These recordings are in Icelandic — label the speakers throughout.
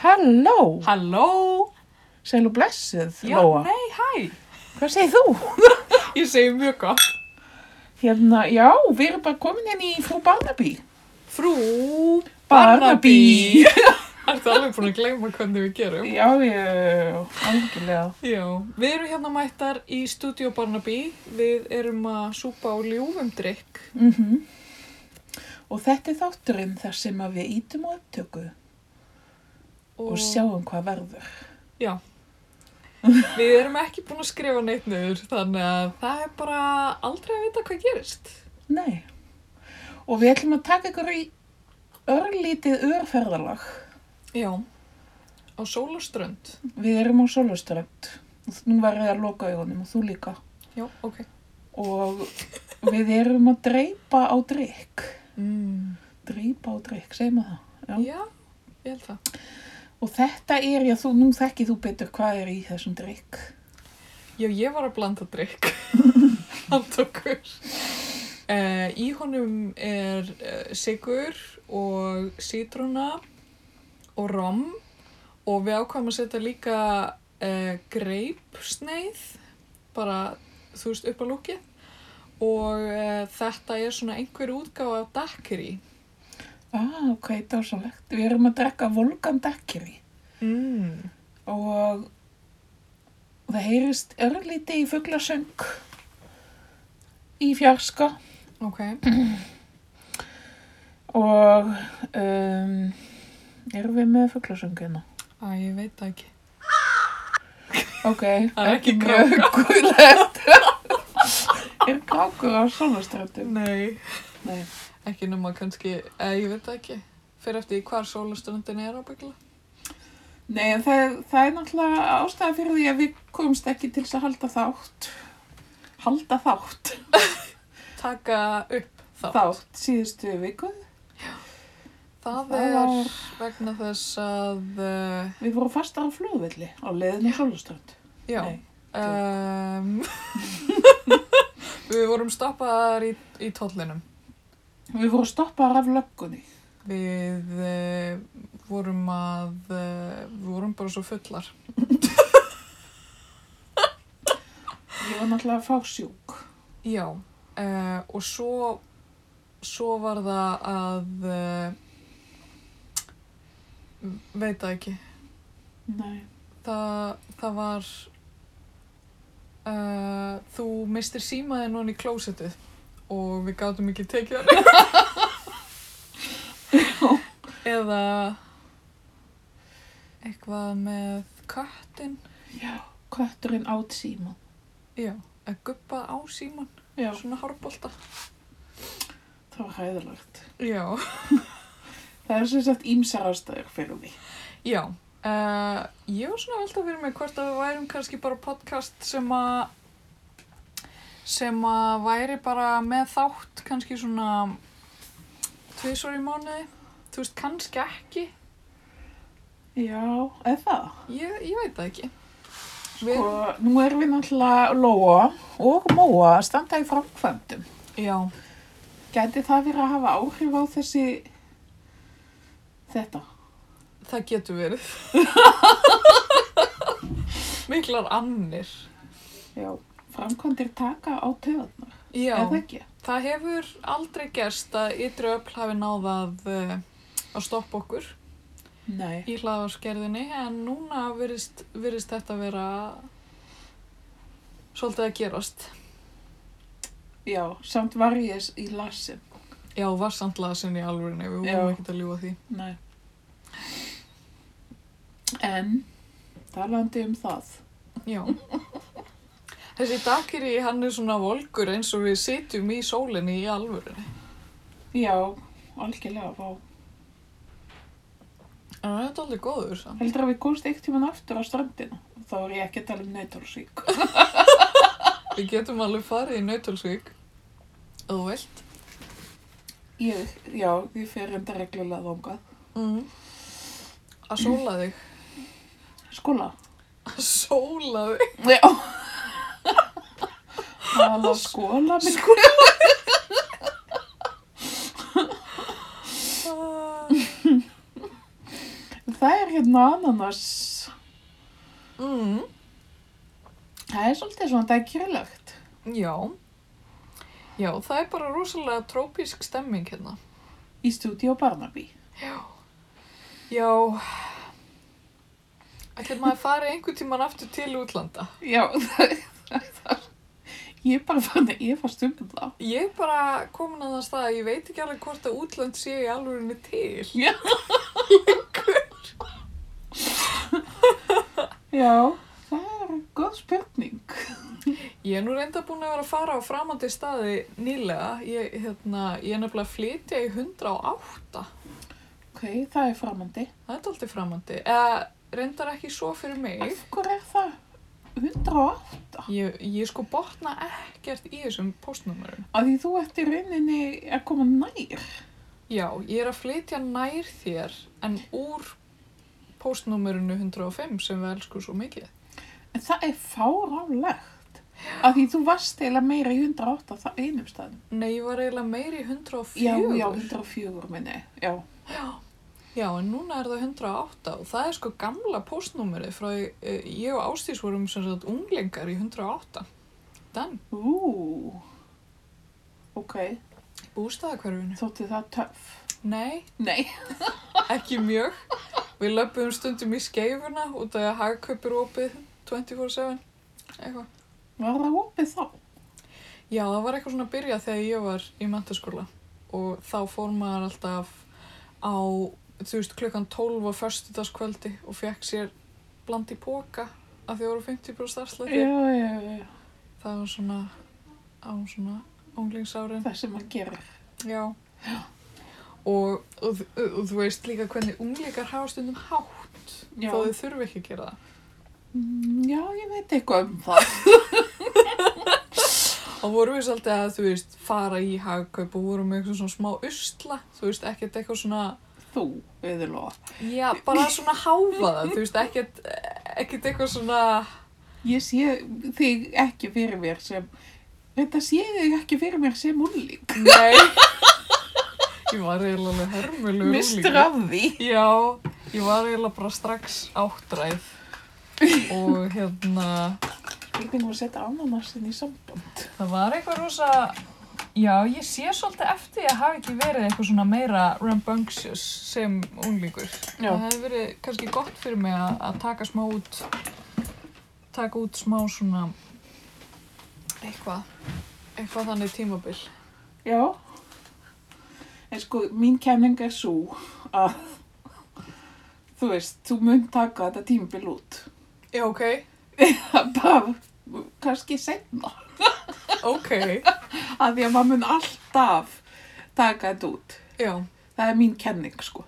Speaker 1: Halló,
Speaker 2: Halló?
Speaker 1: segir nú blessuð,
Speaker 2: Já,
Speaker 1: Lóa.
Speaker 2: nei, hæ.
Speaker 1: Hvað segir þú?
Speaker 2: Ég segi mjög gott.
Speaker 1: Hérna, já, við erum bara komin hérna í frú Barnaby.
Speaker 2: Frú
Speaker 1: Barnaby.
Speaker 2: Ertu alveg búin að gleyma hvernig við gerum?
Speaker 1: Já, ég, algjörlega.
Speaker 2: Já. Við erum hérna mættar í Studio Barnaby. Við erum að súpa á ljúfum drikk.
Speaker 1: Mm
Speaker 2: Mhm.
Speaker 1: Og þetta er þátturinn þar sem að við ítum á upptöku og sjáum hvað verður.
Speaker 2: Já. Við erum ekki búin að skrifa neitt niður, þannig að það er bara aldrei að vita hvað gerist.
Speaker 1: Nei. Og við ætlum að taka ykkur í örlítið örferðalag.
Speaker 2: Já. Á sólaströnd.
Speaker 1: Við erum á Sólaströnd. Nú verður ég að loka augunum og þú líka.
Speaker 2: Já, ok.
Speaker 1: Og við erum að dreipa á drikk.
Speaker 2: Mm.
Speaker 1: Dreipa á drikk, segjum við það. Já.
Speaker 2: Já, ég held það.
Speaker 1: Og þetta er, já, þú, nú þekkið þú betur hvað er í þessum drikk.
Speaker 2: Já, ég var að blanda drikk. Handtökur. Uh, í honum er uh, sigur og sítruna og rom og við ákvæmum að setja líka uh, greipsneið, bara þú veist upp að lúkið og uh, þetta er svona einhver útgáfa af dakkeri.
Speaker 1: Ah, ok, dásalegt. Við erum að drekka volgan dekkir
Speaker 2: Mm.
Speaker 1: og það heyrist örlítið í fuglasöng í fjarska
Speaker 2: Ok,
Speaker 1: og um, erum við með hérna? fuglasöngina?
Speaker 2: að ég veit það ekki.
Speaker 1: Ok,
Speaker 2: Það er ekki
Speaker 1: mjög guðlegt. er krákur á sólaströndum?
Speaker 2: Nei.
Speaker 1: Nei.
Speaker 2: Ekki nema kannski, eða ég veit það ekki. Fyrir eftir því hvar sólaströndin er ábyggla.
Speaker 1: Nei, en það, er- það er náttúrulega ástæða fyrir því að við komumst ekki til þess að halda þátt. Halda þátt.
Speaker 2: Taka upp þá.
Speaker 1: Þátt síðustu vikuð.
Speaker 2: Það
Speaker 1: Það
Speaker 2: er
Speaker 1: var-
Speaker 2: vegna þess að, uh,
Speaker 1: Við vorum fastar á flugvelli á leiðinu á sólaströnd.
Speaker 2: já,
Speaker 1: Nei,
Speaker 2: um, við vorum stoppaðar í, í tóllinum.
Speaker 1: Við vorum stoppaðar af löggunni.
Speaker 2: Við uh, vorum að, uh, við vorum bara svo fullar.
Speaker 1: Ég var náttúrulega að fá sjúk.
Speaker 2: Já, uh, og svo, svo var það að, uh, veit það ekki,
Speaker 1: Nei.
Speaker 2: það, það var, uh, þú mistir símaðinn honni í klósetið og við gátum ekki tekið hann. Eða eitthvað með köttin,
Speaker 1: Já, kötturinn átt síman.
Speaker 2: já, að guppað á síman,
Speaker 1: Já,
Speaker 2: svona hárbolta.
Speaker 1: það var hæðilegt.
Speaker 2: Já.
Speaker 1: Það er sem sagt ímsar ástæður fyrir því.
Speaker 2: Já, uh, ég var svona að velta fyrir mig hvort að við værum kannski bara podcast sem að sem að væri bara með þátt kannski svona tvisvar í mánuði, þú veist kannski ekki,
Speaker 1: Já, eða það.
Speaker 2: ég, ég veit það ekki. Við,
Speaker 1: Og nú erum við náttúrulega Lóa og Móa að standa í framkvæmdum.
Speaker 2: Já,
Speaker 1: Gæti það verið að hafa áhrif á þessi þetta?
Speaker 2: það getur verið. Miklar annir.
Speaker 1: Já, framkvæmdir taka á töðunar.
Speaker 2: Já,
Speaker 1: Eða ekki?
Speaker 2: það hefur aldrei gerst að ytri öll hafi náðað uh, að stoppa okkur.
Speaker 1: Nei.
Speaker 2: í hlaðarskerðinni en núna virðist, virðist þetta vera svolítið að gerast.
Speaker 1: Já, samt var ég í lasin.
Speaker 2: Já, var samt lasin í alvörinni, við vorum
Speaker 1: Já.
Speaker 2: ekkert að ljúa því.
Speaker 1: Nei. En, talandi um það.
Speaker 2: Já. Þessi dagkeri, hann er svona volkur eins og við sitjum í sólinni í alvörinni.
Speaker 1: Já, algjörlega, vá.
Speaker 2: En hann er þetta alveg góður samt.
Speaker 1: Heldur að við komst eitt tíman aftur á strandina. Og Þá er ég ekki að tala um nautalsvík.
Speaker 2: Við getum alveg farið í nautalsvík. Þú vilt.
Speaker 1: Ég, já, ég fer enda reglulega þóngað.
Speaker 2: Mm. Að sóla þig.
Speaker 1: Skóla.
Speaker 2: Að sóla þig.
Speaker 1: Já. Það var skóla mig.
Speaker 2: Ah.
Speaker 1: Það það er hérna ananas.
Speaker 2: Mm.
Speaker 1: Það er svolítið svona dækjurlegt.
Speaker 2: Já. Já, það er bara rosalega trópísk stemming hérna.
Speaker 1: Í stúdíu Barnaby.
Speaker 2: Já. Ætlir maður farið einhvern tíman aftur til útlanda?
Speaker 1: Já, það er það. Ég er bara fann að ég fannst um það.
Speaker 2: Ég er bara komin að það stað að ég veit ekki alveg hvort að útland sé í alvörinni til.
Speaker 1: Já. Já, það er góð spurning.
Speaker 2: Ég er nú reynda búin að vera að fara á framandi staði nýlega. Ég, hérna, ég er nefnilega að flytja í 108.
Speaker 1: Ok, það er framandi.
Speaker 2: Það er aldrei framandi. Eða reyndar ekki svo fyrir mig.
Speaker 1: Af hverju er það 108?
Speaker 2: Ég, ég sko botna ekkert í þessum postnúmerum.
Speaker 1: Af því þú ert í rauninni að koma nær.
Speaker 2: Já, ég er að flytja nær þér en úr postnúmerinu 105 sem við elskum svo mikið.
Speaker 1: En það er fáránlegt. Af því þú varst eiginlega meira í 108 það einum staðum.
Speaker 2: Nei, ég var eiginlega meiri í 104.
Speaker 1: Já, já, 104 minni. Já,
Speaker 2: Já, en núna er það 108 og það er sko gamla postnúmerið frá eh, ég og Ástís vorum sem sagt unglingar í 108. Dan,
Speaker 1: ú, ok,
Speaker 2: bústaðakverfinu.
Speaker 1: þótti það töff.
Speaker 2: Nei,
Speaker 1: Nei,
Speaker 2: ekki mjög. Við löpum stundum í skeifuna út af að hagkaup er opið 24-7. Eitthvað.
Speaker 1: var það opið þá?
Speaker 2: Já, það var eitthvað svona að byrja þegar ég var í mentaskóla og þá fór maður alltaf á, þú veist, klukkan 12 á föstudagskvöldi og fekk sér bland í póka að því voru 50% afslætti.
Speaker 1: Já, já, já,
Speaker 2: Það var svona á svona unglingsárin.
Speaker 1: það sem maður gerir.
Speaker 2: Já. Og, og, þ- og þú veist líka hvernig unglingar hafa stundum hátt
Speaker 1: Já.
Speaker 2: þó þau þurfi ekki að gera það.
Speaker 1: Mm, Já, ég veit eitthvað um það.
Speaker 2: Og vorum við svolítið að þú veist fara í hagkaup og vorum með eitthvað svona smá usla, þú veist ekkert eitthvað svona,
Speaker 1: Þú, auðvitað.
Speaker 2: já bara svona háfaða, þú veist ekkert, ekkert eitthvað svona,
Speaker 1: Ég sé þig ekki fyrir mér sem, þetta sé þig ekki fyrir mér sem úrlík.
Speaker 2: nei. Ég var eiginlega alveg hörmulegur
Speaker 1: Mistur
Speaker 2: unglingur.
Speaker 1: af því.
Speaker 2: Já, ég var eiginlega bara strax áttræð og hérna,
Speaker 1: Ég fengið að setja ananasin í samband.
Speaker 2: það var eitthvað rosa, já, ég sé svolítið eftir því að hafa ekki verið eitthvað svona meira rambunctious sem unglíkur.
Speaker 1: Já.
Speaker 2: Það hefði verið kannski gott fyrir mig að, að taka smá út, taka út smá svona eitthvað, eitthvað þannig tímabil.
Speaker 1: Já. En sko, mín kenning er svo að, þú veist, þú mun taka þetta tímabil út.
Speaker 2: Já, ok,
Speaker 1: Það bara, kannski setna.
Speaker 2: ok,
Speaker 1: Að því að maður mun alltaf taka þetta út.
Speaker 2: já.
Speaker 1: Það er mín kenning, sko.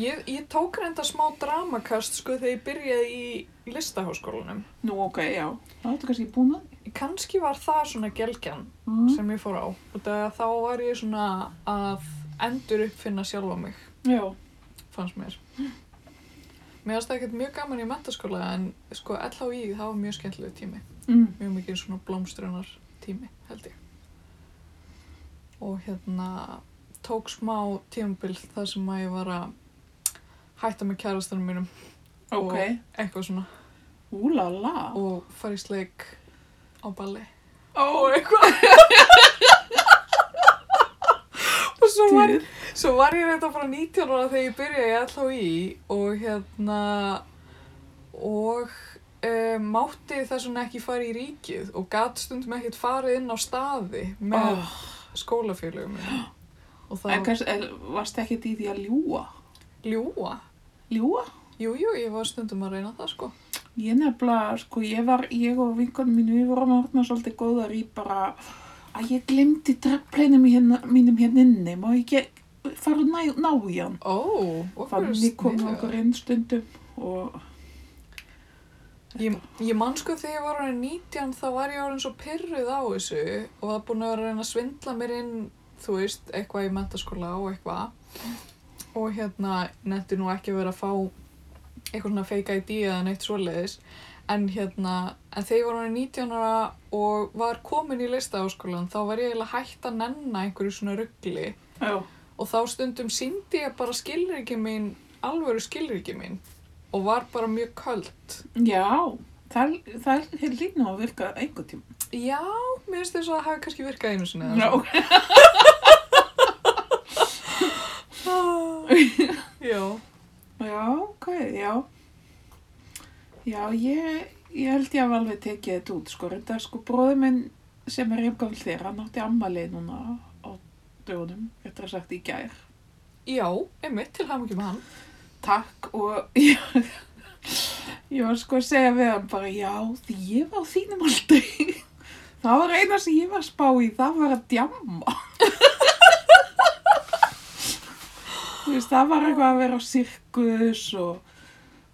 Speaker 2: Ég, ég tók reynda smá dramakast sko þegar ég byrjaði í listaháskólanum.
Speaker 1: Nú, ok, já. Það ertu kannski búin að því.
Speaker 2: Kanski var það svona gelgjan
Speaker 1: Mm.
Speaker 2: sem ég fór á og það, þá var ég svona að endur uppfinna sjálfa mig,
Speaker 1: Já.
Speaker 2: fannst mér. Mér varst það ekkert mjög gaman í mentaskóla en sko LHÍ það var mjög skemmtileg tími,
Speaker 1: Mm.
Speaker 2: mjög mikið svona blómstrunar tími held ég. Og hérna tók smá tímabild þar sem að ég var að hætta með kærastanum mínum,
Speaker 1: Ok.
Speaker 2: eitthvað svona,
Speaker 1: Úlala.
Speaker 2: og fara í sleik á balli.
Speaker 1: Ó,
Speaker 2: eitthvað og svo var,
Speaker 1: dýr.
Speaker 2: svo var ég reynda bara 19 ára þegar ég byrjaði allá í og hérna og e, mátti þess vegna ekki fara í ríkið og gat stundum ekkert farið inn á staði með
Speaker 1: Oh.
Speaker 2: skólafélögum mínum. og það
Speaker 1: En kannski, er- varstu ekkert í því að ljúa?
Speaker 2: ljúa
Speaker 1: Ljúa?
Speaker 2: Jú, jú, ég var stundum að reyna það sko
Speaker 1: Ég nefnilega, sko, ég var, ég og vinkonum mínu, við vorum að orðna svolítið góðar í bara að ég glemdi drefpleinum hérna, mínum hérna inni, má ég ekki fara að ná, ná í hann.
Speaker 2: Ó, og
Speaker 1: Fannig kom okkur inn stundum og,
Speaker 2: Ég, ég man sko þegar ég var orðin 19 þá var ég orðin svo pyrruð á þessu og var búin að vera að reyna að svindla mér inn, þú veist, eitthvað í mentaskóla og eitthvað. Og hérna, netti nú ekki verið að fá eitthvað svona fake ID eða neitt svoleiðis. En hérna, en þegar ég var orðin 19 ára og var komin í listaháskólan þá var ég eiginlega hægt að nenna einhverju svona ruggli
Speaker 1: já,
Speaker 2: og þá stundum síndi ég bara skilriki mín alvöru skilriki mín og var bara mjög köld.
Speaker 1: Já, það, það er línu að virka einhvern tíma.
Speaker 2: Já, mér finnst þess að það hafi kannski virkað einu sinni.
Speaker 1: Já,
Speaker 2: eða
Speaker 1: ok.
Speaker 2: svo. Ah, Já.
Speaker 1: Já, ok, já. Já, ég, ég held ég að alveg tekið þetta út, sko. Þetta er sko bróður minn sem er yfgöld þér, hann átti ammali núna á dögunum, eftir að sagt í gær.
Speaker 2: Já, einmitt til hafa ekki með hann.
Speaker 1: Takk og ég, ég var sko að segja við hann bara, já, því ég var á þínum aldrei. Það var eina sem ég var að spá í, það var að djamma. þú veist, það var eitthvað að vera á sirkus og,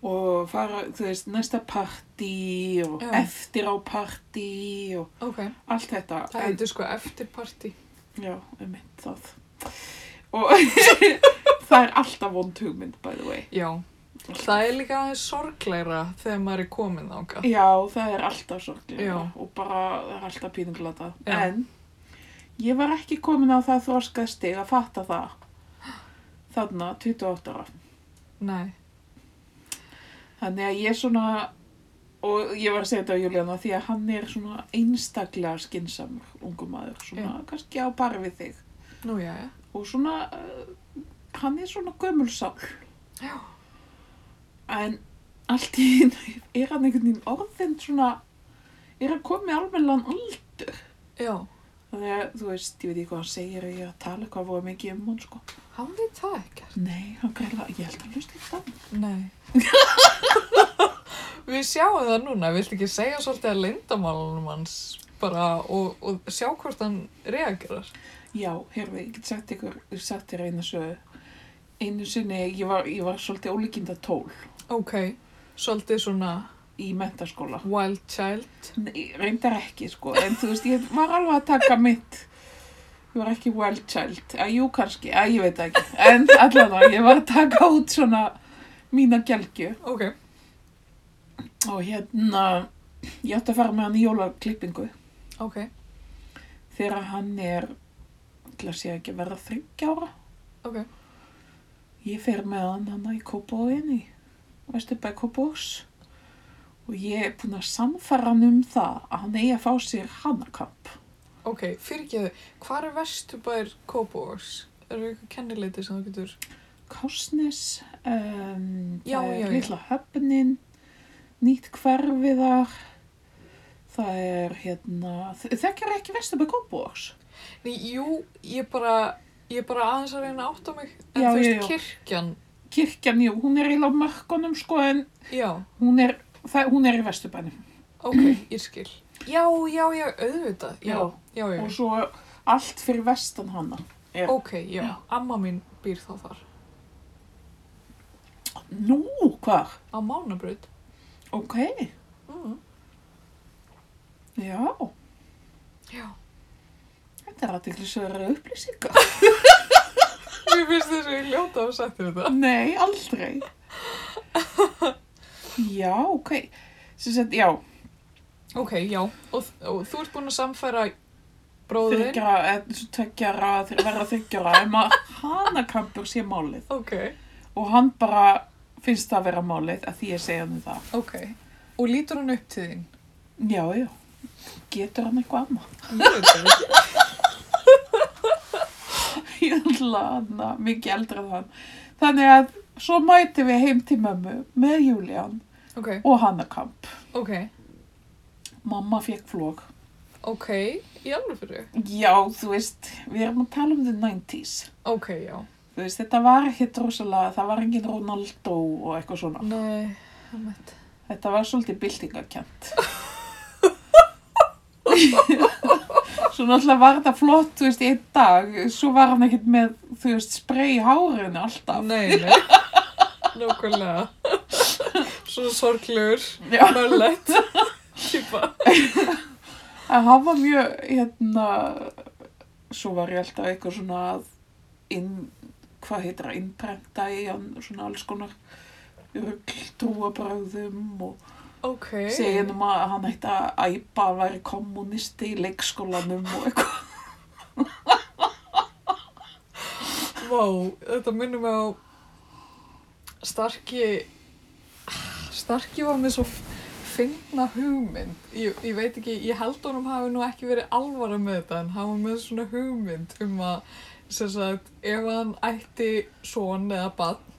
Speaker 1: og fara, þú veist, næsta partí og
Speaker 2: Já.
Speaker 1: eftir á partí og
Speaker 2: Ok.
Speaker 1: allt þetta.
Speaker 2: Það
Speaker 1: En-
Speaker 2: heitir sko eftirparti.
Speaker 1: Já, um mitt það. Og það er alltaf vond hugmynd, by the way.
Speaker 2: Já. Það er líka aðeins sorgleira þegar maður er komin þáka.
Speaker 1: Já, það er alltaf sorglega
Speaker 2: Já.
Speaker 1: og bara það er alltaf pínunglata.
Speaker 2: Já.
Speaker 1: En ég var ekki komin á það þorskastig að fatta það. Þarna, 28 ára.
Speaker 2: Nei.
Speaker 1: Þannig að ég svona, og ég var að segja þetta á Júlíana því að hann er svona einstaklega skinsamur ungu maður, svona kannski á pari við þig.
Speaker 2: Nú já, já.
Speaker 1: Og svona, uh, hann er svona gömulsál.
Speaker 2: Já.
Speaker 1: En allt í einu er hann einhvern veginn orðin svona, er hann komið almennilegan aldur.
Speaker 2: Já.
Speaker 1: Þannig að, þú veist, ég veit ekki hvað hann segir og ég er að tala eitthvað voru mikið um hann, sko.
Speaker 2: Hann veit það ekkert.
Speaker 1: Nei, hann greiðlega, ég held að hann hlusta ekki það.
Speaker 2: Nei. Við sjáum það núna, viltu ekki segja svolítið að lindamálunum hans bara og, og sjá hvort hann reagerar?
Speaker 1: Já, heyrðu, ég get sagt ykkur, sagt þér eina sögu. Einu sinni, ég var, ég var svolítið ólíkinda tól
Speaker 2: Ok, svolítið svona
Speaker 1: í mentaskóla.
Speaker 2: wild child.
Speaker 1: Nei, reyndar ekki, sko, en þú veist, ég var alveg að taka mitt. Ég var ekki well child, að jú kannski, að ég veit það ekki. En allan að ég var að taka út svona mína gelgju
Speaker 2: Ok,
Speaker 1: og hérna, ég átti að fara með hann í jólaklippingu.
Speaker 2: ok,
Speaker 1: þegar hann er ætla að sé ekki að vera þryggja ára
Speaker 2: ok.
Speaker 1: ég fer með hann hann í Kópavóginni Vesturbæ Kópavóks og ég er búin að samfara hann um það að hann eigi að fá sér hannakamp
Speaker 2: Ok, fyrirgeðu, hvað er vesturbær Kópavóks? Eru eitthvað kennileiti sem þú getur?
Speaker 1: Kásnes um,
Speaker 2: Já,
Speaker 1: það
Speaker 2: já, já.
Speaker 1: er litla höfnin nýtt hverfiðar það er hérna þekkar ekki Vesturbæ Kópavóks
Speaker 2: Nei, jú, ég bara, ég bara aðeins að reyna að átta mig. En
Speaker 1: Já,
Speaker 2: þú
Speaker 1: já,
Speaker 2: veist,
Speaker 1: já.
Speaker 2: kirkjan,
Speaker 1: kirkjan, jú, hún er eiginlega á mörkunum sko en
Speaker 2: já.
Speaker 1: hún er, það, hún er í Vesturbænum
Speaker 2: Ok, ég skil. Já, já, já, auðvitað. Já,
Speaker 1: Já.
Speaker 2: já, já.
Speaker 1: og svo allt fyrir vestan hana er,
Speaker 2: Ok, já.
Speaker 1: Já.
Speaker 2: Amma mín býr þá þar.
Speaker 1: nú, hvað?
Speaker 2: Á Mánabraut.
Speaker 1: Ok,
Speaker 2: Mm.
Speaker 1: já,
Speaker 2: Já.
Speaker 1: þetta er aðeinslega upplýsingar.
Speaker 2: Mér finnst þess að ég hljóta að setja þetta.
Speaker 1: Nei, aldrei. já, ok, sem sagt, já,
Speaker 2: Ok, já. Og, og þú ert búin að samfæra bróðurinn.
Speaker 1: þryggjara, tveggjara, þeir verða þryggjara, um að hanakampur sé málið
Speaker 2: Ok,
Speaker 1: og hann bara finnst það að vera málið að því ég segja hann það.
Speaker 2: ok. Og lítur hann upp til þín?
Speaker 1: Já, já, getur hann eitthvað annað?
Speaker 2: Ég veit það ekki.
Speaker 1: ég ætla hana, mikið eldra en hann. Þannig að svo mætum við heim til mömmu með Julian
Speaker 2: Ok,
Speaker 1: og Hannakamp.
Speaker 2: ok,
Speaker 1: Mamma fekk flók.
Speaker 2: ok. Í alveg fyrir.
Speaker 1: Já, þú veist, við erum að tala um the 90s.
Speaker 2: Ok, já.
Speaker 1: Þú veist, þetta var ekkert rosalega, það var engin Ronaldo og eitthvað svona.
Speaker 2: Nei, það mætt.
Speaker 1: Þetta var svolítið byltingakent. Svo náttúrulega var þetta flott, þú veist, í einn dag. Svo var hann ekkert með, þú veist, spray í hárinu alltaf.
Speaker 2: Nei, nei. Nákvæmlega. Svo sorglegur.
Speaker 1: Já.
Speaker 2: Möllett. Kipa.
Speaker 1: að hann var mjög hérna svo var ég alltaf eitthvað svona að inn, hvað heitir það, innprenta í hann svona alls konar rugl trúabröðum og
Speaker 2: Ok.
Speaker 1: segja hann um að hann ætti að æpa að hann væri kommunisti í leikskólanum og eitthvað
Speaker 2: Vá, þetta minnum mig á Starki Starki var með svo finna hugmynd ég, ég veit ekki, ég held honum hafi nú ekki verið alvara með þetta en hann var með svona hugmynd um að sem sagt, ef hann ætti son eða barn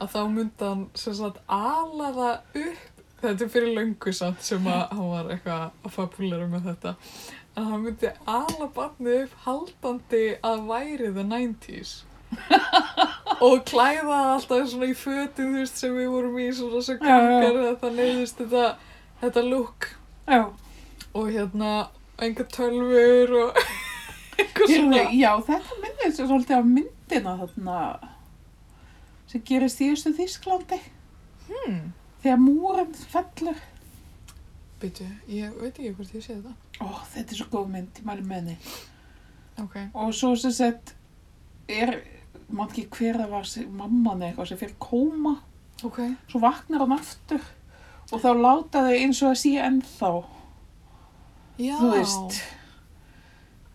Speaker 2: að þá myndi hann sem sagt ala það upp þetta er fyrir löngu samt sem að hann var eitthvað að fabulera með þetta en hann myndi ala barnið upp haldandi að væri the 90s og klæða það alltaf svona í fötum þú veist sem við vorum í svona sem
Speaker 1: Já, já.
Speaker 2: krakkar eða það neyðist þetta, þetta look
Speaker 1: Já,
Speaker 2: og hérna enga tölfur og eitthvað svona
Speaker 1: Gerðu, já þetta myndið þessu svolítið á myndina þarna sem gerist í Ístu Þísklandi
Speaker 2: hmm,
Speaker 1: þegar múrinn fellur.
Speaker 2: Býtu, ég veit ekki hvort ég sé þetta
Speaker 1: Ó, þetta er svo góð mynd, ég mæli með henni.
Speaker 2: Ok,
Speaker 1: Og svo sem sett er, mann ekki hver það var, sem- mamman eða eitthvað sem fyrir kóma,
Speaker 2: ok
Speaker 1: svo vaknar hann aftur og þá láta þau eins og það sé ennþá,
Speaker 2: Já,
Speaker 1: þú veist,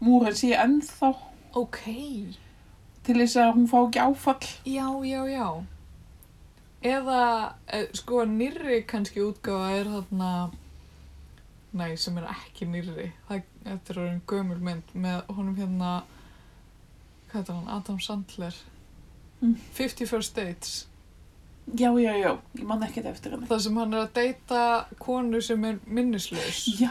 Speaker 1: múrinn sé ennþá
Speaker 2: ok
Speaker 1: til þess að hún fá ekki áfall.
Speaker 2: Já, já, já Eða, e, sko, nýrri kannski útgáfa er þarna Nei, sem er ekki nýrri Það þetta er orðin gömul mynd með honum hérna Hvað heitir hann? Adam Sandler
Speaker 1: Mm.
Speaker 2: 50 First Dates
Speaker 1: Já, já, já, ég man ekkert eftir henni.
Speaker 2: Það sem hann er að deyta konu sem er minnislaus.
Speaker 1: Já,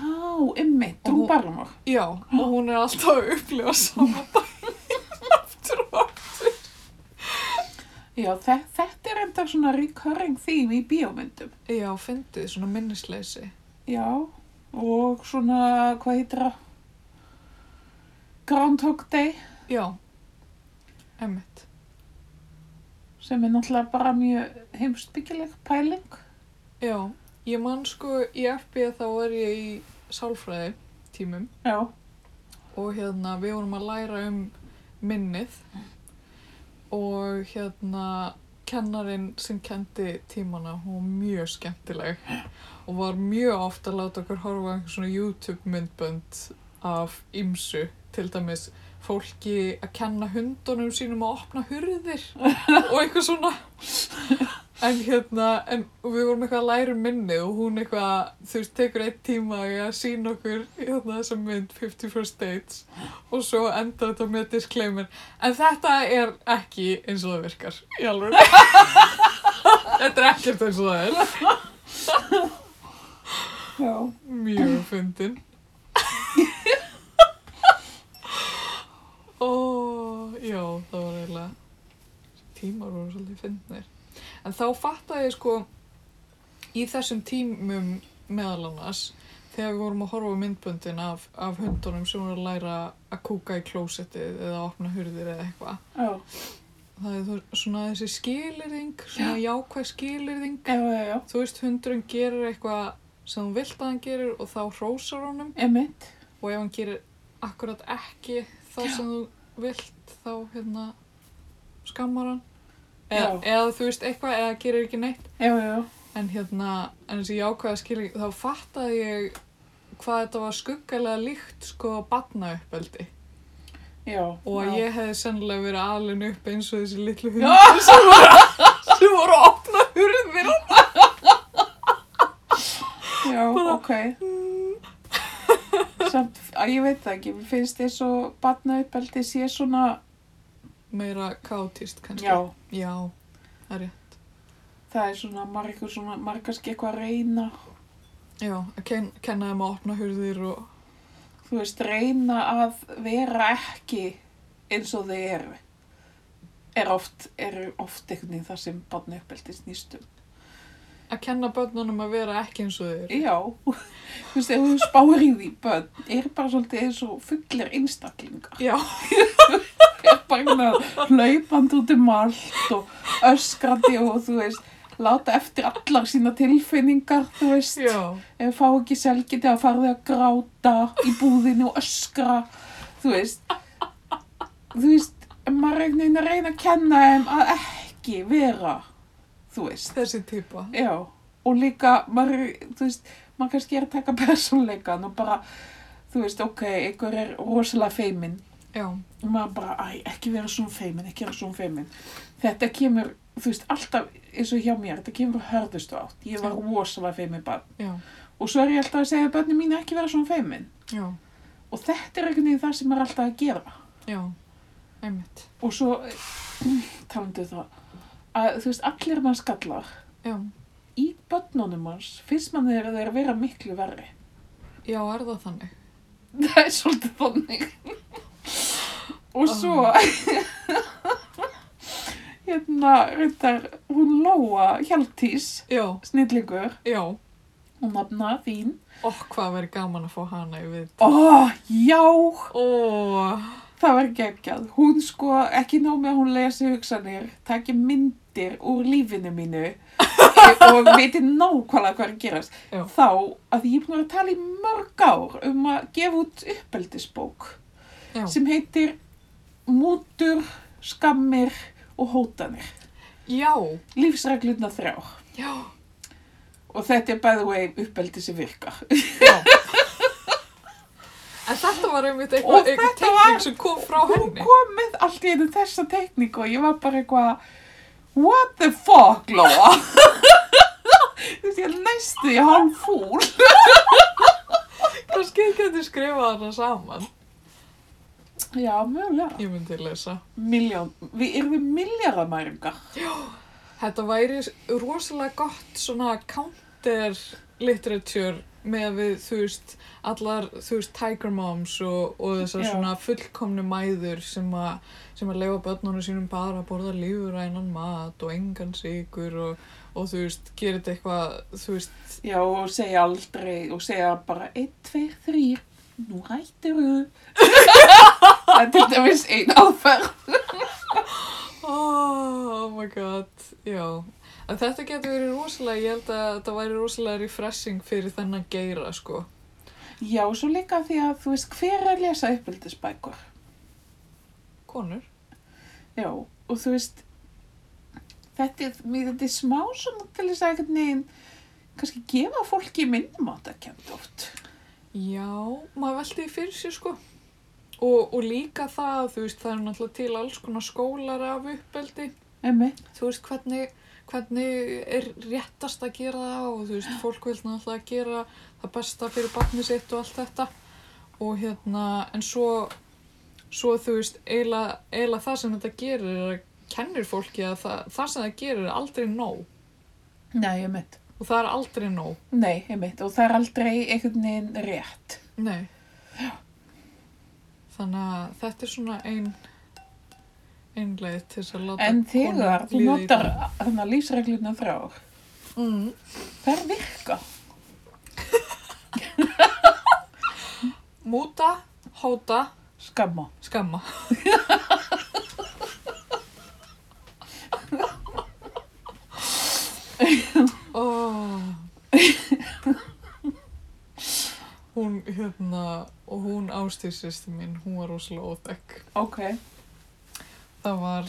Speaker 1: ymmi,
Speaker 2: Og
Speaker 1: Drú
Speaker 2: hún-
Speaker 1: Barrymore.
Speaker 2: Já, og hún er alltaf að upplifa saman daginn aftur og aftur.
Speaker 1: Já, þe þetta er enda svona recurring theme í bíómyndum.
Speaker 2: Já, fyndið, svona minnisleysi.
Speaker 1: Já, og svona, hvað heitir það? Groundhog Day,
Speaker 2: Já, emmitt.
Speaker 1: sem er náttúrulega bara mjög heimsbyggileg pæling.
Speaker 2: Já, ég man sko í FB þá var ég í sálfræði tímum
Speaker 1: Já,
Speaker 2: og hérna við vorum að læra um minnið og hérna kennarinn sem kendi tímana hún var mjög skemmtileg og var mjög oft að láta okkur horfa á einhver svona YouTube myndbönd af ymsu, til dæmis fólki að kenna hundunum sínum að opna hurðir og eitthvað svona en hérna, en við vorum eitthvað að læra um minnið og hún eitthvað þú veist, tekur eitt tíma í að sína okkur hérna þessa mynd 51 States og svo enda þetta með disclaimer en þetta er ekki eins og það virkar í alveg þetta er ekkert eins og það er
Speaker 1: já.
Speaker 2: mjög fyndin ó, já, það var eiginlega tímar voru svolítið fyndnir en þá fattaði ég sko í þessum tímum meðal annars þegar við vorum að horfa á myndböndin af, af hundunum sem voru að læra að kúka í klósettið eða að opna hurðir eða eitthvað
Speaker 1: Já,
Speaker 2: það er þú- svona þessi skilirðing svona jákvæð skilirðing
Speaker 1: já, já, já.
Speaker 2: þú veist hundurinn gerir eitthvað sem hún vilt að hann gerir og þá hrósar honum
Speaker 1: Emmitt.
Speaker 2: og ef hann gerir akkurat ekki það sem þú vilt þá hérna skammar hann eða,
Speaker 1: Já.
Speaker 2: eða þú veist eitthvað eða gerir ekki neitt
Speaker 1: Já, já, já.
Speaker 2: en hérna en þessi jákvæða skilning þá fattaði ég hvað þetta var skuggalega líkt sko batnauppeldi
Speaker 1: Já.
Speaker 2: og
Speaker 1: já.
Speaker 2: að ég hefði sennilega verið alin upp eins og þessi litlu hund
Speaker 1: Já,
Speaker 2: sem voru að opna hurðir
Speaker 1: já, ok. Mm. Samt, að ég veit það ekki, mér finnst þess að batnauppeldi sé svona,
Speaker 2: meira kátist kannski
Speaker 1: já,
Speaker 2: já það er rétt
Speaker 1: það er svona margur svona, margarski eitthvað að reyna
Speaker 2: já, að ken, kenna þeim að opna hurðir og
Speaker 1: þú veist, reyna að vera ekki eins og þau eru er oft, er oft einhvern veginn það sem um. barni uppeldi snýstum.
Speaker 2: að kenna börnunum að vera ekki eins og þeir
Speaker 1: Já, þú veist, ef þú spáir í því börn, er bara svolítið eins og fullir einstaklingar.
Speaker 2: já,
Speaker 1: Er bara með hlaupand út um allt og öskrandi og þú veist, láta eftir allar sína tilfinningar, þú veist.
Speaker 2: já,
Speaker 1: ef fá ekki selgiti að fara þau að gráta í búðinu og öskra þú veist þú veist, en maður er einhvern veginn að reyna að kenna þeim að ekki vera þú veist,
Speaker 2: þessi típa
Speaker 1: já og líka, maður, er- þú veist maður kannski er að taka persónleikan og bara, þú veist, ok einhver er rosalega feiminn
Speaker 2: já,
Speaker 1: og maður bara, æ, ekki vera svona feiminn, ekki vera svona feiminn þetta kemur þú veist, alltaf eins og hjá mér, þetta kemur úr hörðustu átt. Ég var
Speaker 2: Já.
Speaker 1: rosalega feimin barn.
Speaker 2: já,
Speaker 1: Og svo er ég alltaf að segja að börnum mín ekki vera svona feimin.
Speaker 2: já,
Speaker 1: Og þetta er einhvern veginn það sem er alltaf að gera.
Speaker 2: já, einmitt,
Speaker 1: Og svo, talandu það, að þú veist, allir mann skallar
Speaker 2: já,
Speaker 1: í börnunum hans finnst mann þeir að þeir vera miklu verri.
Speaker 2: já, er það þannig?
Speaker 1: Það er svolítið þannig. Og svo, hérna, reyndar, hún Lóa Hjaltís,
Speaker 2: Já,
Speaker 1: snillingur,
Speaker 2: já,
Speaker 1: hún nafna þín.
Speaker 2: og hvað verið gaman að fá hana í við?
Speaker 1: Ó, já,
Speaker 2: Ó,
Speaker 1: það var geggjað. Hún sko, ekki ná með að hún lesi hugsanir, taki myndir úr lífinu mínu og veitir nákvæmlega hvað er að gerast.
Speaker 2: Já.
Speaker 1: Þá, að ég er búin að vera að tala í mörg ár um að gefa út uppeldisbók
Speaker 2: já,
Speaker 1: sem heitir Mútur, Skammir og Hótanir.
Speaker 2: já,
Speaker 1: Lífsregluna þrjár.
Speaker 2: já,
Speaker 1: Og þetta er by the way uppeldi sem virkar.
Speaker 2: já. En þetta var einmitt
Speaker 1: Og
Speaker 2: eitthvað, eitthvað
Speaker 1: þetta var-
Speaker 2: teknik sem kom frá
Speaker 1: Hún
Speaker 2: henni.
Speaker 1: kom með allt í einu þessa tekníku og ég var bara eitthvað What the fuck, Lóa? Þú veist, ég er næstu í hálf fúl.
Speaker 2: Kannski þið getur skrifað hana saman.
Speaker 1: Já, mögulega.
Speaker 2: Ég myndi lesa.
Speaker 1: Miljón, við erum við miljardamæringar.
Speaker 2: Þetta væri rosalega gott svona counter literature með við, þú veist, allar, þú veist, Tiger Moms og, og þessar
Speaker 1: Já.
Speaker 2: svona fullkomnu mæður sem að, sem að leifa börnunum sínum bara að borða lífurænan mat og engan sigur og, og þú veist, gera þetta eitthvað, þú veist,
Speaker 1: Já, og segja aldrei, og segja bara 1, 2, 3, nú hættiru. Það er til dæmis ein aðferð.
Speaker 2: oh my god, já. En þetta getur verið rosalega, ég held að þetta væri rosalega refreshing fyrir þennan geira, sko.
Speaker 1: Já, svo líka því að þú veist hver er að lesa uppeldisbækur.
Speaker 2: Konur.
Speaker 1: Já, og þú veist, þetta er, mér þetta er smá svona til þess að einhvern veginn kannski gefa fólki minnum á þetta kemd oft.
Speaker 2: Já, maður veldi því fyrir sér sko. Og, og líka það, þú veist, það er náttúrulega til alls konar skólar af uppeldi.
Speaker 1: Emmi?
Speaker 2: Þú veist, hvernig, hvernig er réttast að gera það og þú veist, fólk vil náttúrulega gera það besta fyrir barnið sitt og allt þetta. Og hérna, en svo, svo þú veist, eiginlega eiginlega það sem þetta gerir er að kennir fólki að það, það sem það gerir er aldrei nóg.
Speaker 1: Nei, emmi.
Speaker 2: Og það er aldrei nóg.
Speaker 1: Nei, emmi. Og það er aldrei einhvern veginn rétt.
Speaker 2: Nei. Þannig að þetta er svona ein, ein leið til þess að láta
Speaker 1: En
Speaker 2: konur
Speaker 1: þegar þú
Speaker 2: líða
Speaker 1: notar
Speaker 2: illa.
Speaker 1: þannig að lífsregluna þrjár,
Speaker 2: Mm.
Speaker 1: þær virka.
Speaker 2: Múta, hóta,
Speaker 1: Skamma.
Speaker 2: skamma. oh. Hún, hérna, og hún ástíðsýsti mín, hún var rosalega óþekk.
Speaker 1: Ok.
Speaker 2: það var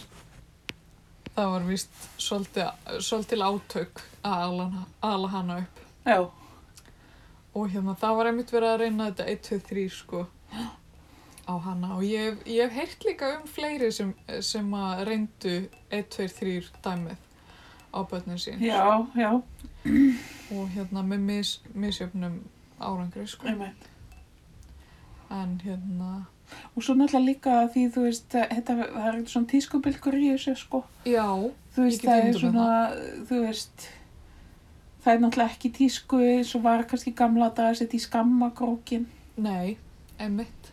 Speaker 2: það var víst svolítið, svolítið átök að ala, hana- ala hana upp
Speaker 1: Já.
Speaker 2: og hérna það var einmitt verið að reyna þetta 1, 2, 3 sko á hana og ég, hef- ég hef heyrt líka um fleiri sem, sem að reyndu 1, 2, 3 dæmið á börnin sín
Speaker 1: Já, já.
Speaker 2: og hérna með mis, misjöfnum árangri sko
Speaker 1: Emmi.
Speaker 2: en hérna,
Speaker 1: Og svo náttúrulega líka því þú veist, þetta, það er eitthvað svona tískubilgur í þessu sko.
Speaker 2: já,
Speaker 1: þú veist,
Speaker 2: Ég get
Speaker 1: það er
Speaker 2: ímyndað mér
Speaker 1: svona, þú veist, það er náttúrulega ekki í tísku eins og var kannski í gamla daga að setja í skammakrókin
Speaker 2: nei, einmitt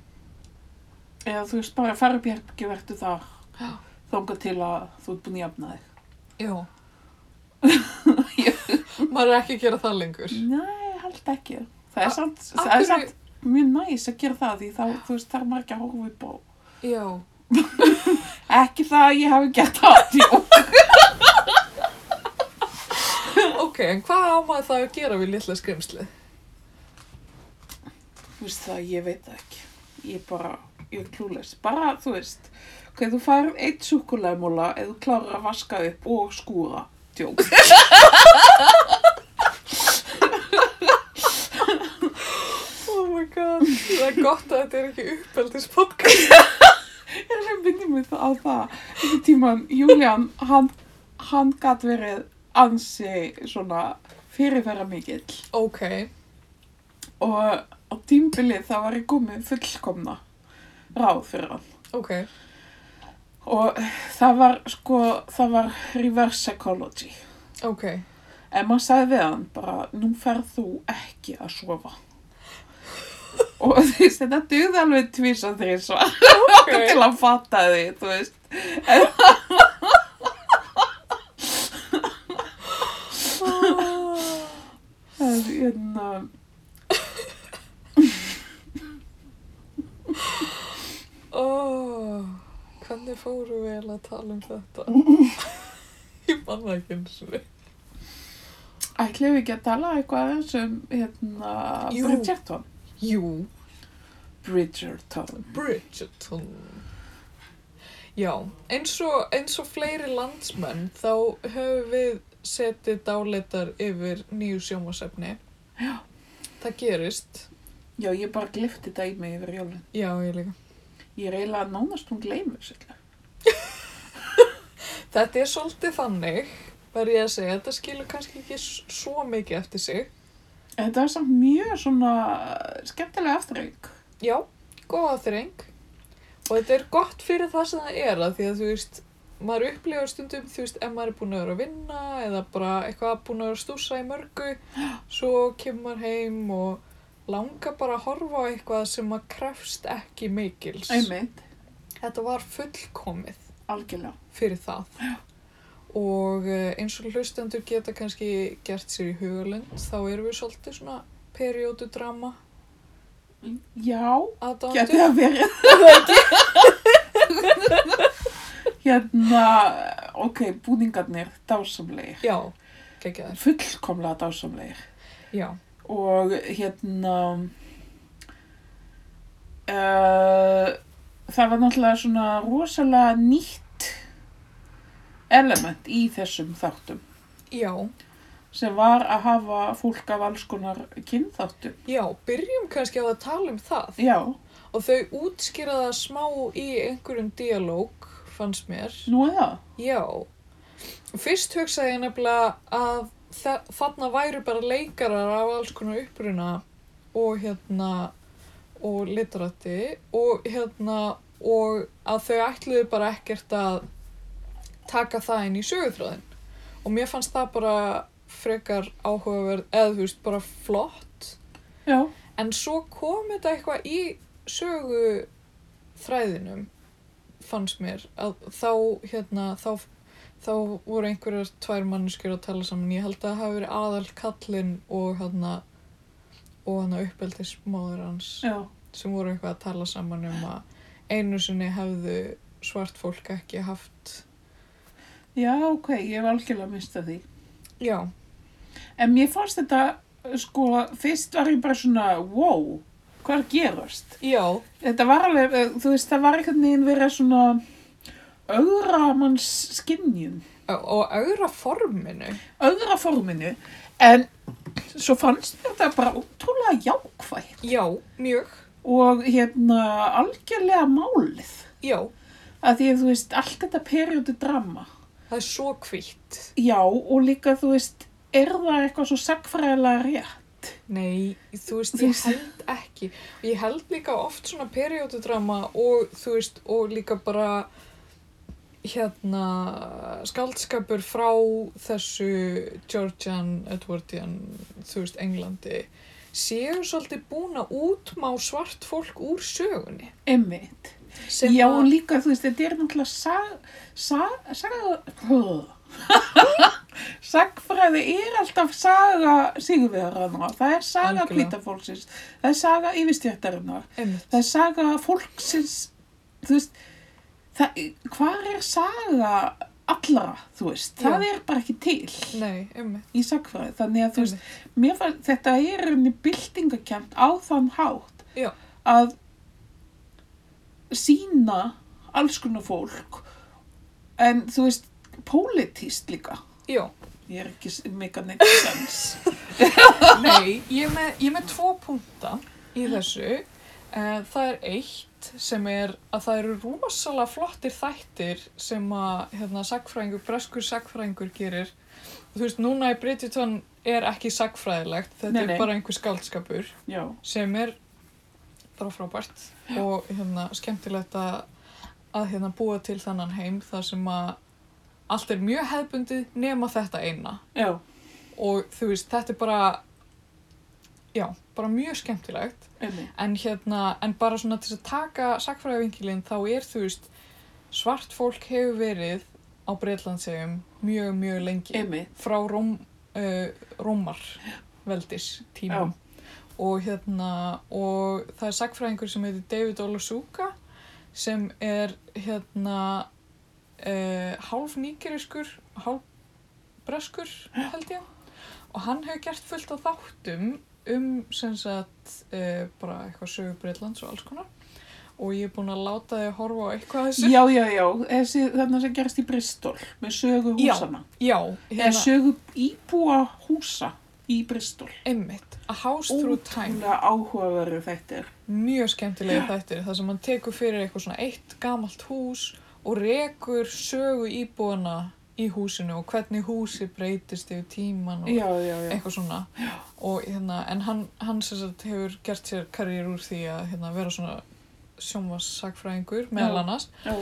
Speaker 1: eða þú veist, bara fara upp í herbyggi og verður þar
Speaker 2: Já.
Speaker 1: þangað til að þú ert búin að jafna þig.
Speaker 2: já maður er ekki að gera það lengur
Speaker 1: Nei, ég held ekki. Það
Speaker 2: A-
Speaker 1: er samt,
Speaker 2: af
Speaker 1: það er
Speaker 2: hverju-
Speaker 1: samt mjög næs að gera það því þá, þú veist, þarf maður ekki að horfa upp á.
Speaker 2: já,
Speaker 1: Ekki það að ég hafi gert það, jú.
Speaker 2: Ok, en hvað á maður það að gera við litla skrimslið?
Speaker 1: Þú veist það, ég veit það ekki. Ég bara, ég er klúles. Bara, þú veist, ok, þú um færð eitt súkulæmóla eða þú klárar að vaska upp og skúra. Tjók.
Speaker 2: Oh my god, það er gott að þetta er ekki uppeldis podcast.
Speaker 1: Ég er að myndi mig það á það. Þetta tíman, Júlían, hann, hann gat verið ansi svona fyrirferra mikill
Speaker 2: Ok,
Speaker 1: og á tímbilið þá var ég komið fullkomna ráð fyrir hann.
Speaker 2: ok.
Speaker 1: Og það var sko, það var reverse psychology.
Speaker 2: Ok.
Speaker 1: En maður sagði við hann bara, nú ferð þú ekki að sofa. Og þú veist, þetta duði alveg tvís og þrís og til
Speaker 2: Ok.
Speaker 1: að fatta því, þú veist. En,
Speaker 2: Ah.
Speaker 1: en, hérna,
Speaker 2: Oh, hvernig fóru við eiginlega að tala um þetta? Ég man það ekki eins og við.
Speaker 1: ætlum við ekki að tala eitthvað eins um, hérna,
Speaker 2: Jú.
Speaker 1: Bridgerton.
Speaker 2: Jú,
Speaker 1: Bridgerton.
Speaker 2: Bridgerton. Já, eins og, eins og fleiri landsmenn þá höfum við setið dálitar yfir nýju sjómasefni. Já. Það gerist.
Speaker 1: Já, ég bara glifti þetta í mig yfir jólun.
Speaker 2: Já, ég líka.
Speaker 1: Ég er eiginlega nánast hún gleymur sérlega.
Speaker 2: Þetta er svolítið þannig, verð ég að segja, þetta skilur kannski ekki s- svo mikið eftir sig.
Speaker 1: En þetta var samt mjög svona skemmtilega afturreik.
Speaker 2: Já, góða þreng og þetta er gott fyrir það sem það er að því að þú veist, maður upplifur stundum þú veist, ef maður er búin að vera að vinna eða bara eitthvað búin að vera að stúsa í mörgu svo kemur maður heim og langar bara að horfa á eitthvað sem maður krefst ekki mikils
Speaker 1: Einmitt,
Speaker 2: Þetta var fullkomið
Speaker 1: algjörlega.
Speaker 2: fyrir það og eh, eins og hlustendur geta kannski gert sér í hugalund þá erum við svolítið svona periodudrama
Speaker 1: Já, geti
Speaker 2: aðdándur
Speaker 1: það verið. hérna, ok, búningarnir dásamlegir.
Speaker 2: Já, geggjaður
Speaker 1: Fullkomlega dásamlegir.
Speaker 2: Já
Speaker 1: Og hérna, uh, það var náttúrulega svona rosalega nýtt element í þessum þáttum.
Speaker 2: Já,
Speaker 1: sem var að hafa fólk af alls konar kynþáttum.
Speaker 2: já, byrjum kannski á að tala um það
Speaker 1: Já,
Speaker 2: og þau útskýra það smá í einhverjum dialóg, fannst mér.
Speaker 1: nú er það.
Speaker 2: Já, fyrst hugsaði ég nefnilega að þa- þarna væru bara leikarar af alls konar uppruna og hérna og literati og hérna og að þau ætluðu bara ekkert að taka það inn í söguþráðin og mér fannst það bara frekar áhugaverð eða þú veist bara flott
Speaker 1: Já,
Speaker 2: En svo kom þetta eitthvað í sögu þræðinum, fannst mér, að þá, hérna, þá, þá voru einhverjar tvær manneskjur að tala saman. Ég held að það hafi verið aðal kallinn og hérna, og hann uppeldismóður hans
Speaker 1: já,
Speaker 2: sem voru eitthvað að tala saman um að einu sinni hefðu svart fólk ekki haft.
Speaker 1: já, ok, ég hef algjörlega mistað því.
Speaker 2: Já,
Speaker 1: En mér fannst þetta, sko, fyrst var ég bara svona, wow, hvað er að gerast?
Speaker 2: já,
Speaker 1: Þetta var alveg, eh, þú veist, það var einhvern veginn verið svona öðra manns skinnjum,
Speaker 2: og, og auðra forminu.
Speaker 1: öðra forminu, en svo fannst mér þetta bara ótrúlega jákvæð
Speaker 2: Já, mjög,
Speaker 1: og hérna algjörlega málið.
Speaker 2: já,
Speaker 1: að því að þú veist, allt þetta periodu drama.
Speaker 2: það er svo hvitt.
Speaker 1: Já, og líka þú veist, er það eitthvað svo sagfræðilega rétt?
Speaker 2: Nei, þú veist,
Speaker 1: Þú
Speaker 2: ég
Speaker 1: veist-
Speaker 2: held ekki. Og Ég held líka oft svona periodudrama og þú veist, og líka bara hérna skaldskapur frá þessu Georgian, Edwardian, þú veist, Englandi séu svolítið búin að útmá svart fólk úr sögunni.
Speaker 1: Einmitt.
Speaker 2: Sem
Speaker 1: Já, og
Speaker 2: að,
Speaker 1: líka þú veist, þetta er náttúrulega sag, sag, sag, sagfræði er alltaf saga sigurveðaranna. Það er saga
Speaker 2: Algjörlega.
Speaker 1: kvítafólksins, það er saga yfirstjættarinnar,
Speaker 2: einmitt,
Speaker 1: það er saga fólksins, þú veist, það, hvar er saga allra, þú veist, það er bara ekki til.
Speaker 2: nei, einmitt,
Speaker 1: í sagfræði, þannig að þú
Speaker 2: einmitt,
Speaker 1: veist mér var, þetta er unni byltingakent á þann hátt
Speaker 2: Já.
Speaker 1: að sína alls konar fólk en þú veist pólitíst líka
Speaker 2: já.
Speaker 1: ég er ekki s- mega neitt sens
Speaker 2: Nei, ég er með, ég er með tvo punta í þessu En það er eitt sem er að það eru rosalega flottir þættir sem að hérna, sagfræðingur, breskur sagfræðingur gerir. Og þú veist, núna í Bridgerton er ekki sagfræðilegt, þetta
Speaker 1: Nei, nei.
Speaker 2: er bara einhver skaldskapur
Speaker 1: já,
Speaker 2: sem er bara frábært og hérna, skemmtilegt að, að hérna, búa til þannan heim þar sem að allt er mjög hefbundið nema þetta eina
Speaker 1: já,
Speaker 2: og þú veist, þetta er bara já, bara mjög skemmtilegt
Speaker 1: einmitt.
Speaker 2: en hérna, en bara svona til að taka sakfræðavingilinn þá er þú veist svart fólk hefur verið á Breitlandsegum mjög, mjög lengi
Speaker 1: Einmitt,
Speaker 2: frá róm, uh, rómar veldis tímum og hérna og það er sagfræðingur sem heitir David Olosuka sem er hérna uh, hálf nýgeriskur hálf breskur held ég og hann hefur gert fullt á þáttum um sem sagt uh, bara eitthvað sögur Breitlands og alls konar og ég er búin að láta þið horfa á eitthvað af þessu
Speaker 1: já, já, já, þessi, þannig sem gerast í Bristol með sögu
Speaker 2: Já,
Speaker 1: húsana.
Speaker 2: Já,
Speaker 1: Eða
Speaker 2: hérna,
Speaker 1: sögu íbúa húsa í Bristol.
Speaker 2: einmitt A House Through Time
Speaker 1: Ótrúlega áhugaveru þetta er.
Speaker 2: mjög skemmtilega þættir þar sem hann tekur fyrir eitthvað svona eitt gamalt hús og rekur sögu íbúana í húsinu og hvernig húsi breytist yfir tíman og
Speaker 1: Já, já, já.
Speaker 2: eitthvað svona og, hérna, en hann, hann sem sagt hefur gert sér karriér úr því að hérna, vera svona sjónvassakfræðingur meðal
Speaker 1: Já.
Speaker 2: annars
Speaker 1: Já,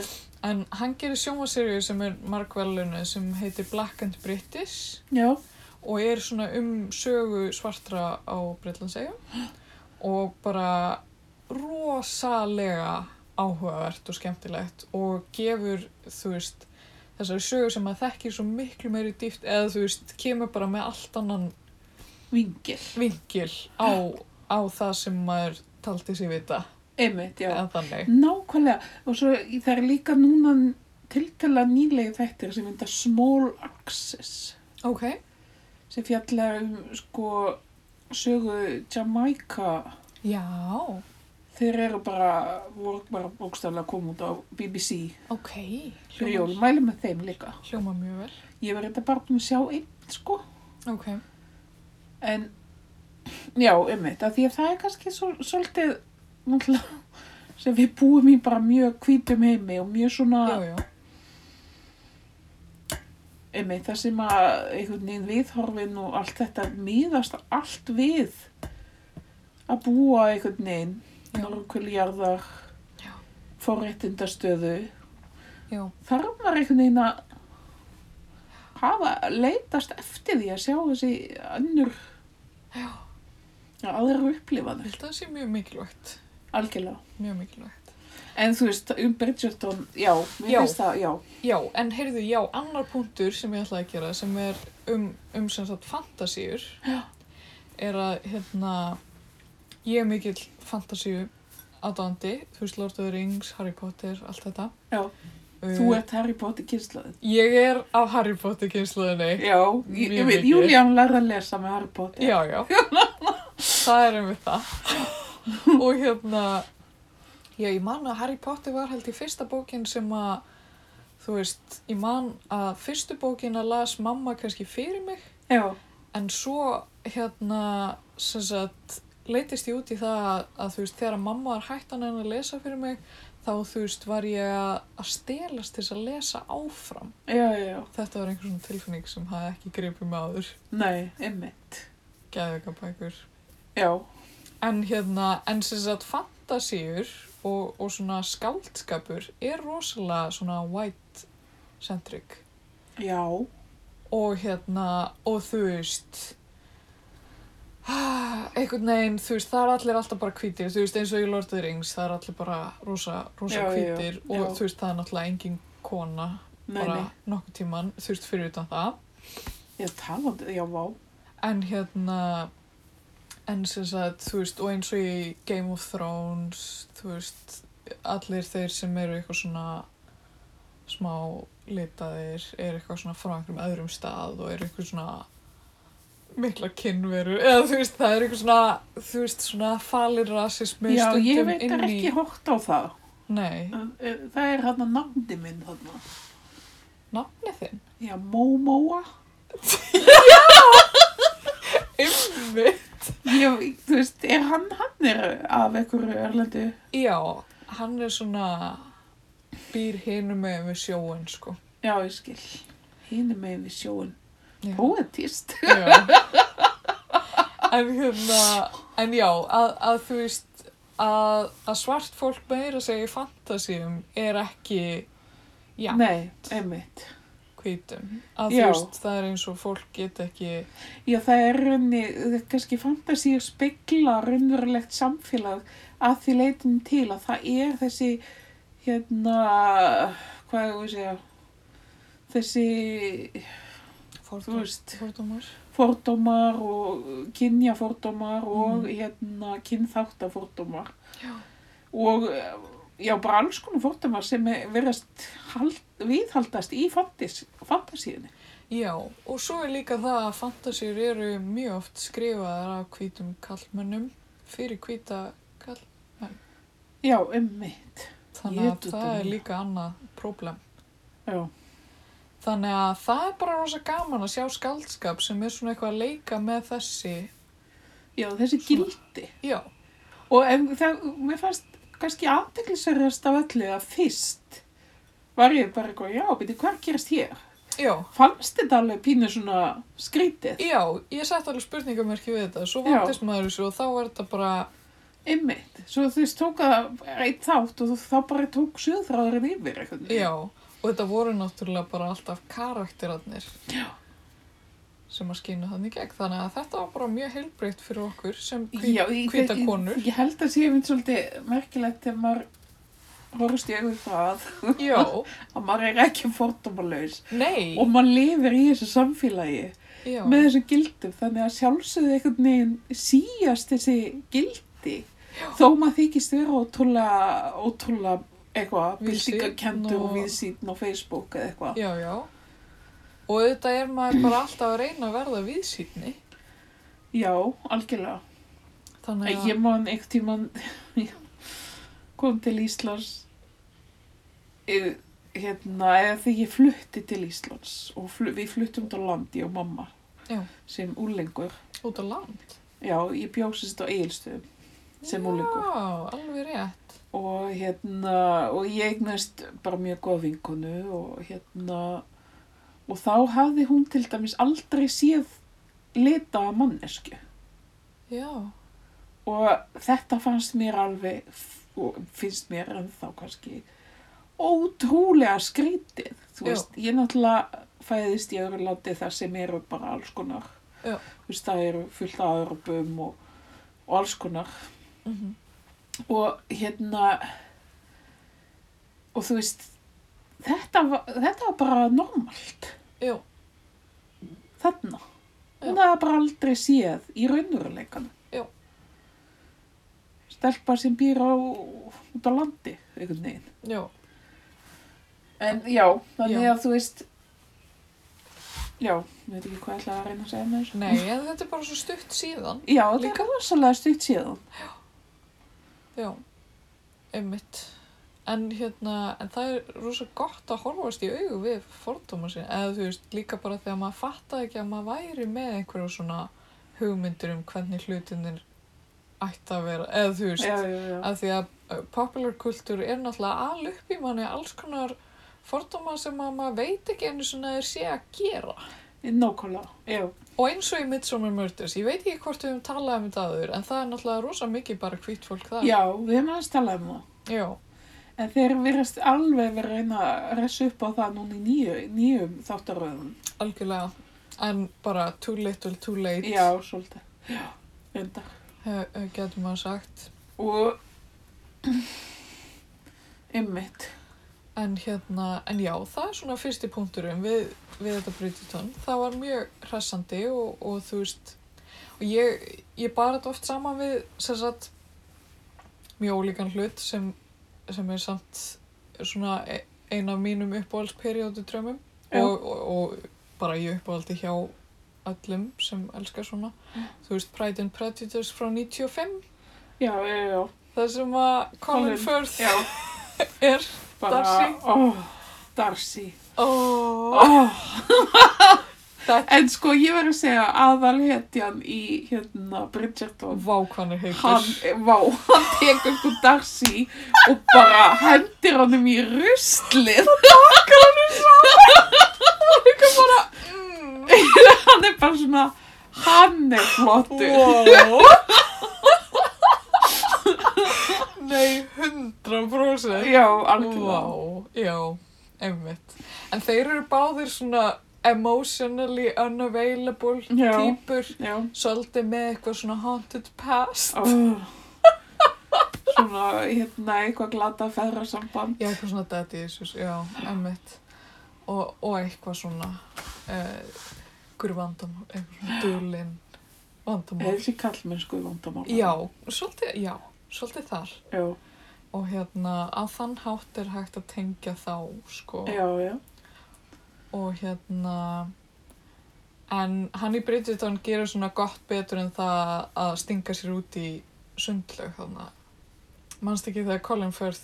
Speaker 2: en hann gerir sjónvasserju sem er markvelunu sem heitir Black and British
Speaker 1: já,
Speaker 2: og er svona um sögu svartra á Breitlandsegum og bara rosalega áhugavert og skemmtilegt og gefur, þú veist, þessari sögu sem maður þekkir svo miklu meiri dýft eða þú veist, kemur bara með allt annan
Speaker 1: vingil.
Speaker 2: vingil á, á það sem maður taldi sér vita
Speaker 1: Einmitt, já.
Speaker 2: eða þannig.
Speaker 1: Nákvæmlega. Og svo í- það er líka núna tiltala nýlega þættir sem mynda Small Access
Speaker 2: Ok,
Speaker 1: sem fjallar um sko sögu Jamaica
Speaker 2: já,
Speaker 1: þeir eru bara, voru bara bókstaflega að koma út á BBC
Speaker 2: ok,
Speaker 1: fyrir jól,
Speaker 2: hljóma,
Speaker 1: mælum með þeim líka
Speaker 2: hljóma mjög vel,
Speaker 1: ég var þetta bara búin að sjá einn sko
Speaker 2: ok,
Speaker 1: en já, einmitt, af því að það er kannski svo, svolítið náttúrulega, sem við búum í bara mjög hvítum heimi og mjög svona
Speaker 2: já, já,
Speaker 1: einmitt, það sem að einhvern veginn viðhorfin og allt þetta miðast allt við að búa einhvern veginn
Speaker 2: Já.
Speaker 1: norðkuljarðar
Speaker 2: Já.
Speaker 1: forréttindastöðu
Speaker 2: já,
Speaker 1: þarf maður einhvern veginn að hafa, leitast eftir því að sjá þessi önnur
Speaker 2: já,
Speaker 1: að aðra upplifanir,
Speaker 2: held að það sé mjög mikilvægt,
Speaker 1: algjörlega
Speaker 2: mjög mikilvægt.
Speaker 1: en þú veist, um Bridgerton, já mér
Speaker 2: Já.
Speaker 1: finnst það, já,
Speaker 2: Já, en heyrðu, já, annar punktur sem ég ætlaði að gera sem er um, um sem sagt fantasíur er að, hérna, ég er mikill fantasíu aðdóndi, þú veist, Lord of the Rings, Harry Potter, allt þetta.
Speaker 1: Já.
Speaker 2: Uh,
Speaker 1: þú ert Harry Potter kynslaðin
Speaker 2: Ég er af Harry Potter kynsluðinni.
Speaker 1: já, ég,
Speaker 2: Mjög
Speaker 1: ég veit,
Speaker 2: mikið.
Speaker 1: Julian lærði að lesa með Harry Potter
Speaker 2: Já, já. það er einmitt það. Og hérna, já, ég man að Harry Potter var held í fyrsta bókin sem að, þú veist, ég man að fyrstu bókin að las mamma kannski fyrir mig
Speaker 1: já,
Speaker 2: En svo hérna, sem sagt, leytist ég út í það að, að þú veist, þegar mamma var hættan en að lesa fyrir mig, þá þú veist, var ég að að stelast til þess að lesa áfram.
Speaker 1: já, já,
Speaker 2: Þetta var einhver svona tilfinning sem hafði ekki gripið með áður,
Speaker 1: nei, einmitt
Speaker 2: geðveika bækur.
Speaker 1: já,
Speaker 2: En hérna, en sem sagt, fantasíur og, og svona skáldskapur er rosalega svona white-centric.
Speaker 1: já
Speaker 2: og hérna, og þú veist einhvern veginn, þú veist, það er allir alltaf bara hvítir, þú veist, eins og í Lord of the Rings það er allir bara rosa, rosa
Speaker 1: Já, já, já.
Speaker 2: hvítir og
Speaker 1: Já.
Speaker 2: þú veist, það er náttúrulega engin kona
Speaker 1: nei,
Speaker 2: bara
Speaker 1: nei,
Speaker 2: nokkuð tíman, þú veist, fyrir utan það
Speaker 1: ég talandi, já, vá
Speaker 2: en hérna en sem sagt, þú veist, og eins og í Game of Thrones, þú veist allir þeir sem eru eitthvað svona smá litaðir, er eitthvað svona frá einhverjum öðrum stað og er eitthvað svona mikla kynveru eða þú veist, það er eitthvað svona þú veist, svona falir rasismi
Speaker 1: já,
Speaker 2: stundum
Speaker 1: ég veit
Speaker 2: inn
Speaker 1: það
Speaker 2: í-
Speaker 1: ekki hótt á það
Speaker 2: Nei,
Speaker 1: það er hann að nafni minn þarna
Speaker 2: nafnið þinn
Speaker 1: já, Mómóa
Speaker 2: Ymmi
Speaker 1: ég, þú veist, er hann hann er af af einhverju erlendu.
Speaker 2: Já, hann er svona býr hinum með við sjóin, sko.
Speaker 1: Já, ég skil. Hinn er með við sjóun.
Speaker 2: Já.
Speaker 1: Poetist.
Speaker 2: Já. En hérna, en já, að, að þú veist, að, að svart fólk meira að segja í fantasíum er ekki, já,
Speaker 1: Nei, einmitt.
Speaker 2: hvítum. Að
Speaker 1: Já.
Speaker 2: þú veist, það er eins og fólk get ekki,
Speaker 1: Já, það er raunni, það er kannski fantasíu spegla raunverulegt samfélag að því leitum til að það er þessi, hérna, hvað er það að segja, þessi, þú
Speaker 2: fordómar.
Speaker 1: veist,
Speaker 2: Fordómar.
Speaker 1: fordómar og kynjafordómar og hérna kynþáttafordómar
Speaker 2: Mm. Já.
Speaker 1: og eh, já, bara alls konar fordómar sem er- virðast hald, viðhaldast í fantas, fantasíunni.
Speaker 2: Já, og svo er líka það að fantasíur eru mjög oft skrifaðar af hvítum kallmönnum fyrir hvíta kall.
Speaker 1: Já, emmitt.
Speaker 2: Þannig að
Speaker 1: Jötull,
Speaker 2: það er
Speaker 1: Dóra.
Speaker 2: líka annað próblem.
Speaker 1: Já,
Speaker 2: Þannig að það er bara rosa gaman að sjá skaldskap sem er svona eitthvað að leika með þessi.
Speaker 1: já, þessi
Speaker 2: Svona.
Speaker 1: gildi.
Speaker 2: Já,
Speaker 1: Og en það, mér fannst kannski aðteglisverðast af öllu að fyrst var ég bara eitthvað, já, beti, hvað gerast hér?
Speaker 2: já,
Speaker 1: Fannst þetta alveg pínu svona skrítið?
Speaker 2: já, ég sett alveg spurningamerki við þetta. Svo
Speaker 1: Já.
Speaker 2: vandist maður þessu og þá er þetta bara,
Speaker 1: Einmitt. Svo þú veist, tók að einn þátt og þá bara tók söðráðurinn yfir eitthvað.
Speaker 2: já, og þetta voru náttúrulega bara alltaf karakterarnir. Já. Sem að skýna þannig gegn. Þannig að þetta var bara mjög heilbreytt fyrir okkur sem hví-
Speaker 1: Já, ég-
Speaker 2: hvíta
Speaker 1: ég-
Speaker 2: konur.
Speaker 1: Ég held að sé mynd svolítið merkilegt þegar maður horfst í auðvitað það
Speaker 2: Já,
Speaker 1: að maður er ekki fórtumalaus
Speaker 2: nei,
Speaker 1: og maður lifir í þessu samfélagi
Speaker 2: já,
Speaker 1: með þessum gildum þannig að sjálfsögðu einhvern veginn síjast þessi gildi þó maður þykist vera ótrúlega, ótrúlega eitthvað,
Speaker 2: Víðsýnn
Speaker 1: bildingakendur
Speaker 2: og-
Speaker 1: og viðsýn á Facebook eða eitthvað.
Speaker 2: já, já. Og auðvitað er maður bara alltaf að reyna að verða viðsýtni.
Speaker 1: Já, algjörlega.
Speaker 2: Þannig að,
Speaker 1: Ég man einhvern tímann ég kom til Íslands eh, hérna, eða þegar ég flutti til Íslands og fl við fluttum til landi og mamma
Speaker 2: Já.
Speaker 1: sem úlengur.
Speaker 2: út á land.
Speaker 1: Já, ég bjósist á eigilstöðum sem úlengur
Speaker 2: Já, alveg rétt.
Speaker 1: og hérna, og ég eignast bara mjög góð vinkonu og hérna, og þá hafði hún til dæmis aldrei séð lita mannesku.
Speaker 2: Já,
Speaker 1: og þetta fannst mér alveg og finnst mér ennþá kannski ótrúlega skrítið þú
Speaker 2: Já.
Speaker 1: veist, ég náttúrulega fæðist í öðru landi þar sem eru bara alls konar
Speaker 2: Já.
Speaker 1: þú veist, það eru fullt af örubum og, og alls konar
Speaker 2: mm
Speaker 1: Mhm. og hérna og þú veist þetta var, þetta var bara normalt
Speaker 2: já,
Speaker 1: þarna.
Speaker 2: Já.
Speaker 1: Hún hafði bara aldrei séð í raunveruleikanum.
Speaker 2: Já.
Speaker 1: Stelpa sem býr á, út á landi, einhvern veginn.
Speaker 2: já,
Speaker 1: En já, þannig
Speaker 2: Já.
Speaker 1: að þú veist, já, ég veit ekki hvað ég ætlaði að reyna að segja með þessu.
Speaker 2: nei, en þetta er bara svo stutt síðan,
Speaker 1: Já, það
Speaker 2: Líka-
Speaker 1: er rosalega stutt síðan.
Speaker 2: já, einmitt, en hérna, en það er rosa gott að horfast í augu við fordóma sín, eða þú veist, líka bara þegar maður fattaði ekki að maður væri með einhverju svona hugmyndir um hvernig hlutinir ætti að vera, eða þú veist,
Speaker 1: Já, já, já.
Speaker 2: af því að uh, popular kultúr er náttúrulega al upp í manni alls konar fordóma sem að maður veit ekki einu svona er sé að gera.
Speaker 1: Nákvæmlega, já.
Speaker 2: Og eins og í Midsommar Murders, ég veit ekki hvort við höfum talað um þetta aður, en það er náttúrulega rosa mikið bara hvít fólk það.
Speaker 1: Já, við hefum aðeins talað um það.
Speaker 2: Já,
Speaker 1: En þeir virðast alveg verið að reyna að resa upp á það núna í nýju, nýjum þáttaröðum.
Speaker 2: algjörlega. En bara too little, too late,
Speaker 1: Já, svolítið. Já, reynda.
Speaker 2: he- he- getur maður sagt.
Speaker 1: og ymmit
Speaker 2: En hérna, en já, það er svona fyrsti punkturinn við, við þetta Bridgerton. Það var mjög hressandi og, og þú veist, og ég, ég bar þetta oft saman við, sem sagt, mjög ólíkan hlut sem, sem er samt svona e- ein af mínum uppáhaldsperiodu drömmum
Speaker 1: Já.
Speaker 2: og, og, og bara ég uppáhaldi hjá öllum sem elskar svona.
Speaker 1: Mm.
Speaker 2: Þú veist, Pride and Prejudice frá 95,
Speaker 1: já, já, já,
Speaker 2: það sem að
Speaker 1: Colin,
Speaker 2: Colin Firth
Speaker 1: já
Speaker 2: er,
Speaker 1: bara,
Speaker 2: Darcy.
Speaker 1: ó, Darcy
Speaker 2: oh,
Speaker 1: oh.
Speaker 2: Þetta
Speaker 1: En sko, ég verður að segja aðalhetjan í hérna Bridgerton
Speaker 2: vákvanir heitur.
Speaker 1: hann, vá, hann tekur sko Darcy og bara hendir honum í ruslið
Speaker 2: Mm.
Speaker 1: hann er bara svona hann er flottur
Speaker 2: Wow. Nei, 100%.
Speaker 1: já, algjörlega
Speaker 2: Vá, já, einmitt. En þeir eru báðir svona emotionally unavailable
Speaker 1: Já.
Speaker 2: típur,
Speaker 1: já,
Speaker 2: svolítið með eitthvað svona haunted past.
Speaker 1: ó svona, hérna, eitthvað glata feðrasamband
Speaker 2: Já, eitthvað svona daddy issues, já, einmitt. Og, og eitthvað svona, uh, hverju vandamál, eitthvað svona dulinn vandamál.
Speaker 1: þessi sko kallmennsku vandamál
Speaker 2: Já, svolítið, já, svolítið þar.
Speaker 1: já,
Speaker 2: Og hérna, að þann hátt er hægt að tengja þá, sko.
Speaker 1: já, já,
Speaker 2: og hérna en hann í Bridgerton gerir svona gott betur en það að stinga sér út í sundlaug þarna mannst ekki þegar Colin Firth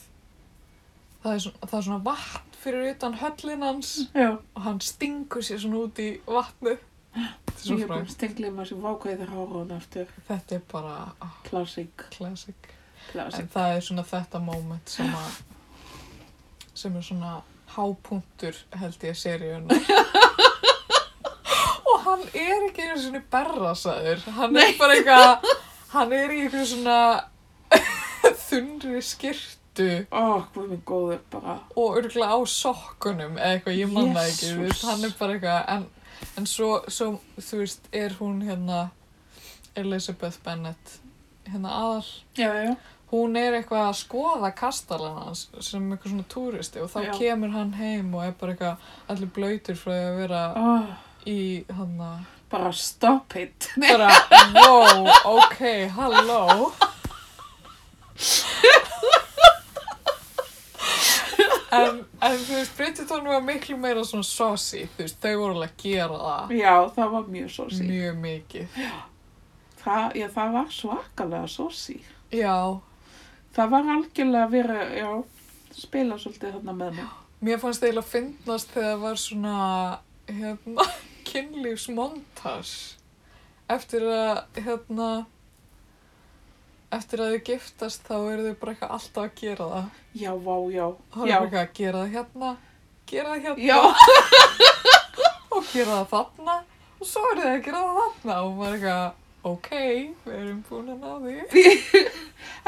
Speaker 2: það er svona, það er svona vatn fyrir utan höllin hans
Speaker 1: já.
Speaker 2: og hann stingur sér svona út í vatnið þetta er,
Speaker 1: ég er
Speaker 2: svo
Speaker 1: búin
Speaker 2: frægt.
Speaker 1: að stengla maður sem vákvæði þér hárun eftir
Speaker 2: þetta er bara oh,
Speaker 1: klassík,
Speaker 2: classic
Speaker 1: klassík
Speaker 2: en það er svona þetta moment sem að sem er svona hápunktur held ég seríuna og hann er ekki einu svona berrasaður hann er bara eitthvað hann er í eitthvað svona þunri skirtu
Speaker 1: Ó, hvað minn góður bara.
Speaker 2: og örgulega á sokkunum eða eitthvað, ég manna ekki, þú veist,
Speaker 1: Jesús.
Speaker 2: hann er bara eitthvað en, en svo, svo, þú veist, er hún hérna Elizabeth Bennet hérna aðal
Speaker 1: Já, já,
Speaker 2: hún er eitthvað að skoða kastalan hans sem eitthvað svona túristi og þá
Speaker 1: Já.
Speaker 2: kemur hann heim og er bara eitthvað allir blöytur frá því að vera
Speaker 1: Ó,
Speaker 2: í hann að
Speaker 1: bara stop it. Nei,
Speaker 2: bara, wow, ok, halló en, en þú veist, Bridgerton var miklu meira svona saucy, þú veist, þau voru alveg að gera það
Speaker 1: Já, það var mjög sósí.
Speaker 2: mjög mikið
Speaker 1: Það, já, það var svakalega sósí.
Speaker 2: já,
Speaker 1: Það var algjörlega verið, já, spila svolítið þarna með mig.
Speaker 2: Mér fannst eiginlega að fyndnast þegar það var svona hérna, kynlífsmontas eftir að hérna eftir að þau giftast þá eru þau bara eitthvað alltaf að gera það
Speaker 1: Já, vá, já,
Speaker 2: þá
Speaker 1: já,
Speaker 2: eru bara eitthvað að gera það hérna gera það hérna
Speaker 1: já,
Speaker 2: og gera það þarna og svo eru þau að gera það þarna og maður er eitthvað ok, við erum búin að ná því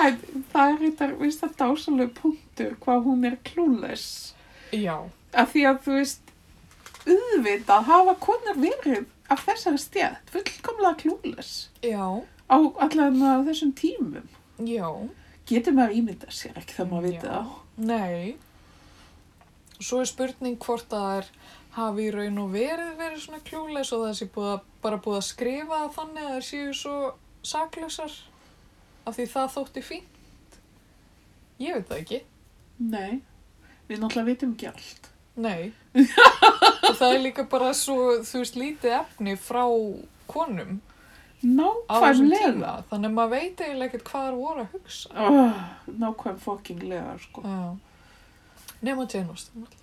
Speaker 1: en það er þetta, veist það dásalega punktur hvað hún er klúles.
Speaker 2: Já,
Speaker 1: Af því að, þú veist, auðvitað hafa konar verið af þessari stjætt fullkomlega klúles
Speaker 2: já,
Speaker 1: á allan á þessum tímum.
Speaker 2: já
Speaker 1: Getur maður ímyndað sér ekki þegar maður viti
Speaker 2: Já.
Speaker 1: það.
Speaker 2: Nei. Svo er spurning hvort að það er hafi í raun og verið verið svona klúleis og það sé búið að, bara búið að skrifa það þannig að það séu svo saklausar af því það þótti fínt. Ég veit það ekki.
Speaker 1: Nei, við náttúrulega vitum ekki allt.
Speaker 2: Nei. og það er líka bara svo, þú veist, lítið efni frá konum á
Speaker 1: um
Speaker 2: þessum
Speaker 1: Nákvæmlega.
Speaker 2: tíma. Þannig að maður veit eiginlega ekkert hvað það voru að hugsa.
Speaker 1: Oh, nákvæm fokkinglega, sko.
Speaker 2: Já. Nefna Jane Austen alltaf.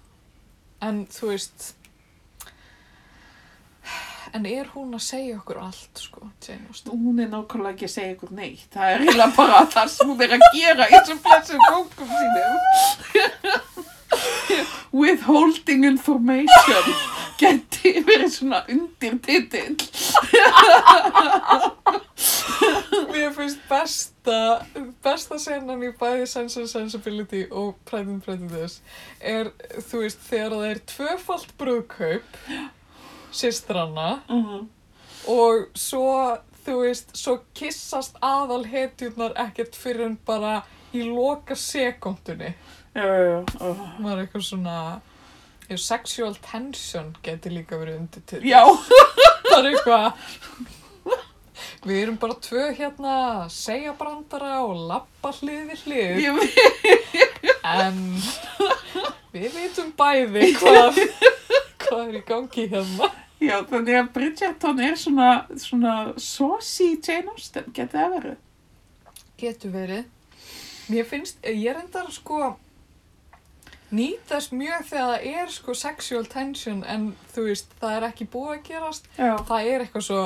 Speaker 2: En þú veist, en er hún að segja okkur allt, sko, Jane Austen?
Speaker 1: Hún er nákvæmlega ekki að segja ykkur neitt. Það er eiginlega bara það sem hún er að gera í þessum flessum bókum sínum. Withholding information geti verið svona undir titill.
Speaker 2: Mér finnst besta, besta senan í bæði Sense and Sensibility og Pride and Prejudice er, þú veist, þegar það er tvöfalt brúðkaup sýstranna
Speaker 1: Uh,
Speaker 2: og svo, þú veist, svo kissast aðal hetjurnar ekkert fyrir en bara í loka sekundunni.
Speaker 1: uh, uh.
Speaker 2: maður er eitthvað svona ef sexual tension geti líka verið undir til
Speaker 1: Já,
Speaker 2: það er eitthvað við erum bara tvö hérna segja brandara og labba hlið við hlið
Speaker 1: ég veit.
Speaker 2: en við vitum bæði hvað hvað er í gangi hérna
Speaker 1: Já, þannig að Bridgerton er svona, svona saucy Jane Austen, geti það verið.
Speaker 2: getur verið mér finnst, ég reyndar sko nýtast mjög þegar það er sko sexual tension en þú veist, það er ekki búið að gerast
Speaker 1: Já,
Speaker 2: það er eitthvað svo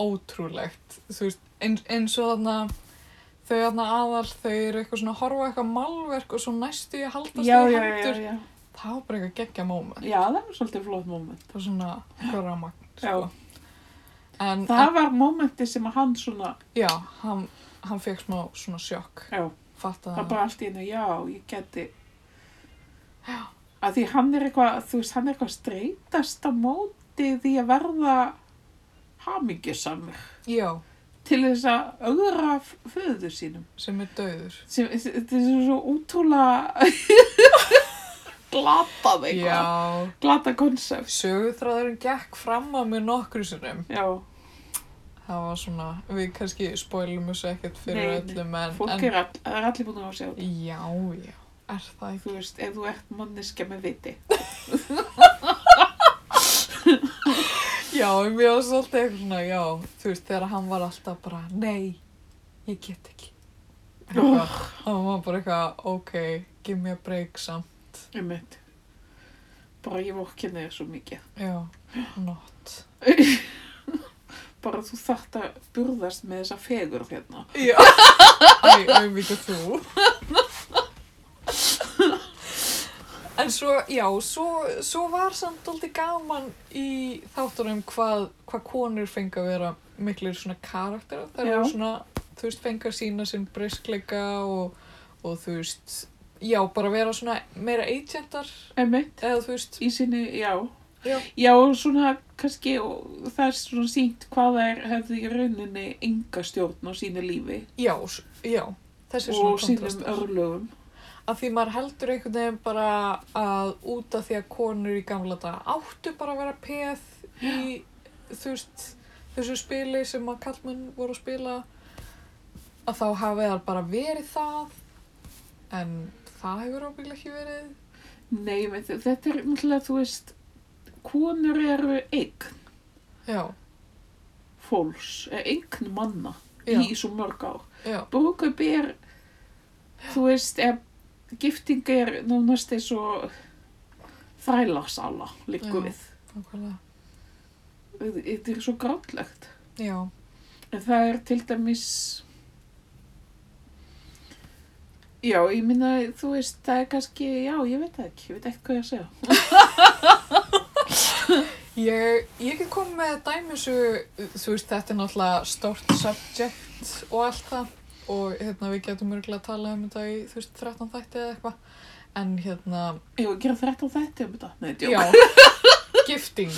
Speaker 2: ótrúlegt þú veist, ein, eins og þarna þau þarna aðal, þau eru eitthvað svona að horfa á eitthvað malverk og svo næstu ég haldast
Speaker 1: já, já,
Speaker 2: í
Speaker 1: já,
Speaker 2: hendur
Speaker 1: já.
Speaker 2: það var bara eitthvað geggja moment
Speaker 1: Já, það var svolítið flott moment.
Speaker 2: það var svona eitthvað ramagn
Speaker 1: Já.
Speaker 2: sko. en,
Speaker 1: Það var momenti sem að hann svona,
Speaker 2: en já, hann, hann fekk smá svona sjokk
Speaker 1: já,
Speaker 2: fattaði
Speaker 1: það
Speaker 2: hann.
Speaker 1: bara allt í einu, já, ég geti. Að því hann er eitthvað, þú veist, hann er eitthvað streytast á móti því að verða hamingjusamur
Speaker 2: já,
Speaker 1: til þess að auðra föðu sínum.
Speaker 2: sem er döður
Speaker 1: Sem, sem- þetta er svo útrúlega glatað eitthvað.
Speaker 2: já,
Speaker 1: Glata konsept.
Speaker 2: sögutræðurinn gekk fram að mér nokkru sinnum
Speaker 1: Já,
Speaker 2: það var svona, við kannski spoilum þessu ekkert fyrir
Speaker 1: Nei, nei.
Speaker 2: öllum en,
Speaker 1: fólk
Speaker 2: en
Speaker 1: er, all, er allir búin að á sjá.
Speaker 2: já, já, er það ekki
Speaker 1: Þú veist, ef þú ert manniska með viti.
Speaker 2: já, en mér var svolítið eitthvað svona, já þú veist, þegar hann var alltaf bara, nei ég get ekki eitthvað, hann var bara eitthvað, ok give me a break samt,
Speaker 1: Um eitt. Bara ég vorkinni þér svo mikið.
Speaker 2: já, not
Speaker 1: Bara þú þart að burðast með þessa fegur hérna.
Speaker 2: já, æ, auðvitað þú En svo, já, svo, svo var samt aldrei gaman í þáttunum hvað, hvað konur fengi að vera miklir svona karakterar. Það
Speaker 1: Já.
Speaker 2: eru svona, þú veist, fengi að sína sinn briskleika og, og þú veist, já, bara vera svona meira agentar
Speaker 1: Um eitt.
Speaker 2: eða þú veist,
Speaker 1: Í sinni, já.
Speaker 2: Já.
Speaker 1: Já, og svona kannski, og það er svona sínt hvað það er, hefði í rauninni enga stjórn á sínu lífi.
Speaker 2: já, s- já, þessi svona
Speaker 1: og sínum
Speaker 2: kontrastar.
Speaker 1: örlögum.
Speaker 2: að því maður heldur einhvern veginn bara að út af því að konur í gamla dag áttu bara að vera peð í þú veist, þessu spili sem að kallmenn voru að spila að þá hafi það bara verið það en það hefur ábyggilega ekki verið
Speaker 1: Nei, ég veit, þetta er umhverfið, þú veist, konur eru eign
Speaker 2: já,
Speaker 1: fólks, eh, eign manna
Speaker 2: já,
Speaker 1: í svo mörg ár.
Speaker 2: já,
Speaker 1: brúðkaup er þú veist er, gifting er nánast eins og þrælarsala líku
Speaker 2: Já.
Speaker 1: við
Speaker 2: nákvæmlega
Speaker 1: þetta er svo grátlegt
Speaker 2: já,
Speaker 1: en það er til dæmis já, ég minna þú veist, það er kannski já, ég veit það ekki, ég veit ekki hvað ég að segja
Speaker 2: ég, ég get komið með dæmi svo, þú veist, þetta er náttúrulega stórt subject og allt það og hérna við getum örgulega að tala um þetta í, þú veist, 13 þætti eða eitthvað en hérna,
Speaker 1: ég var að gera þrætt á þetta um þetta Nei, djók.
Speaker 2: já, gifting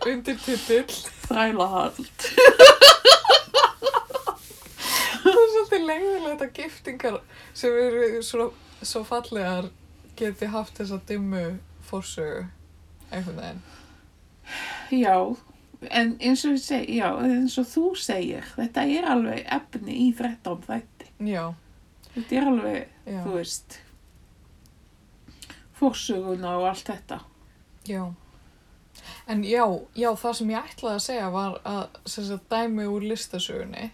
Speaker 2: undir titill
Speaker 1: þrælahald
Speaker 2: það er svolítið leiðilegt að giftingar sem eru svo, svo fallegar geti haft þessa dimmu fórsögu einhvern veginn
Speaker 1: já, en eins og, ég seg, já, eins og þú segir þetta er alveg efni í þrætt á þetta
Speaker 2: já,
Speaker 1: þetta er alveg
Speaker 2: já,
Speaker 1: þú veist fórsöguna og allt þetta
Speaker 2: Já. En já, já, það sem ég ætlaði að segja var að sem sagt, dæmi úr listasögunni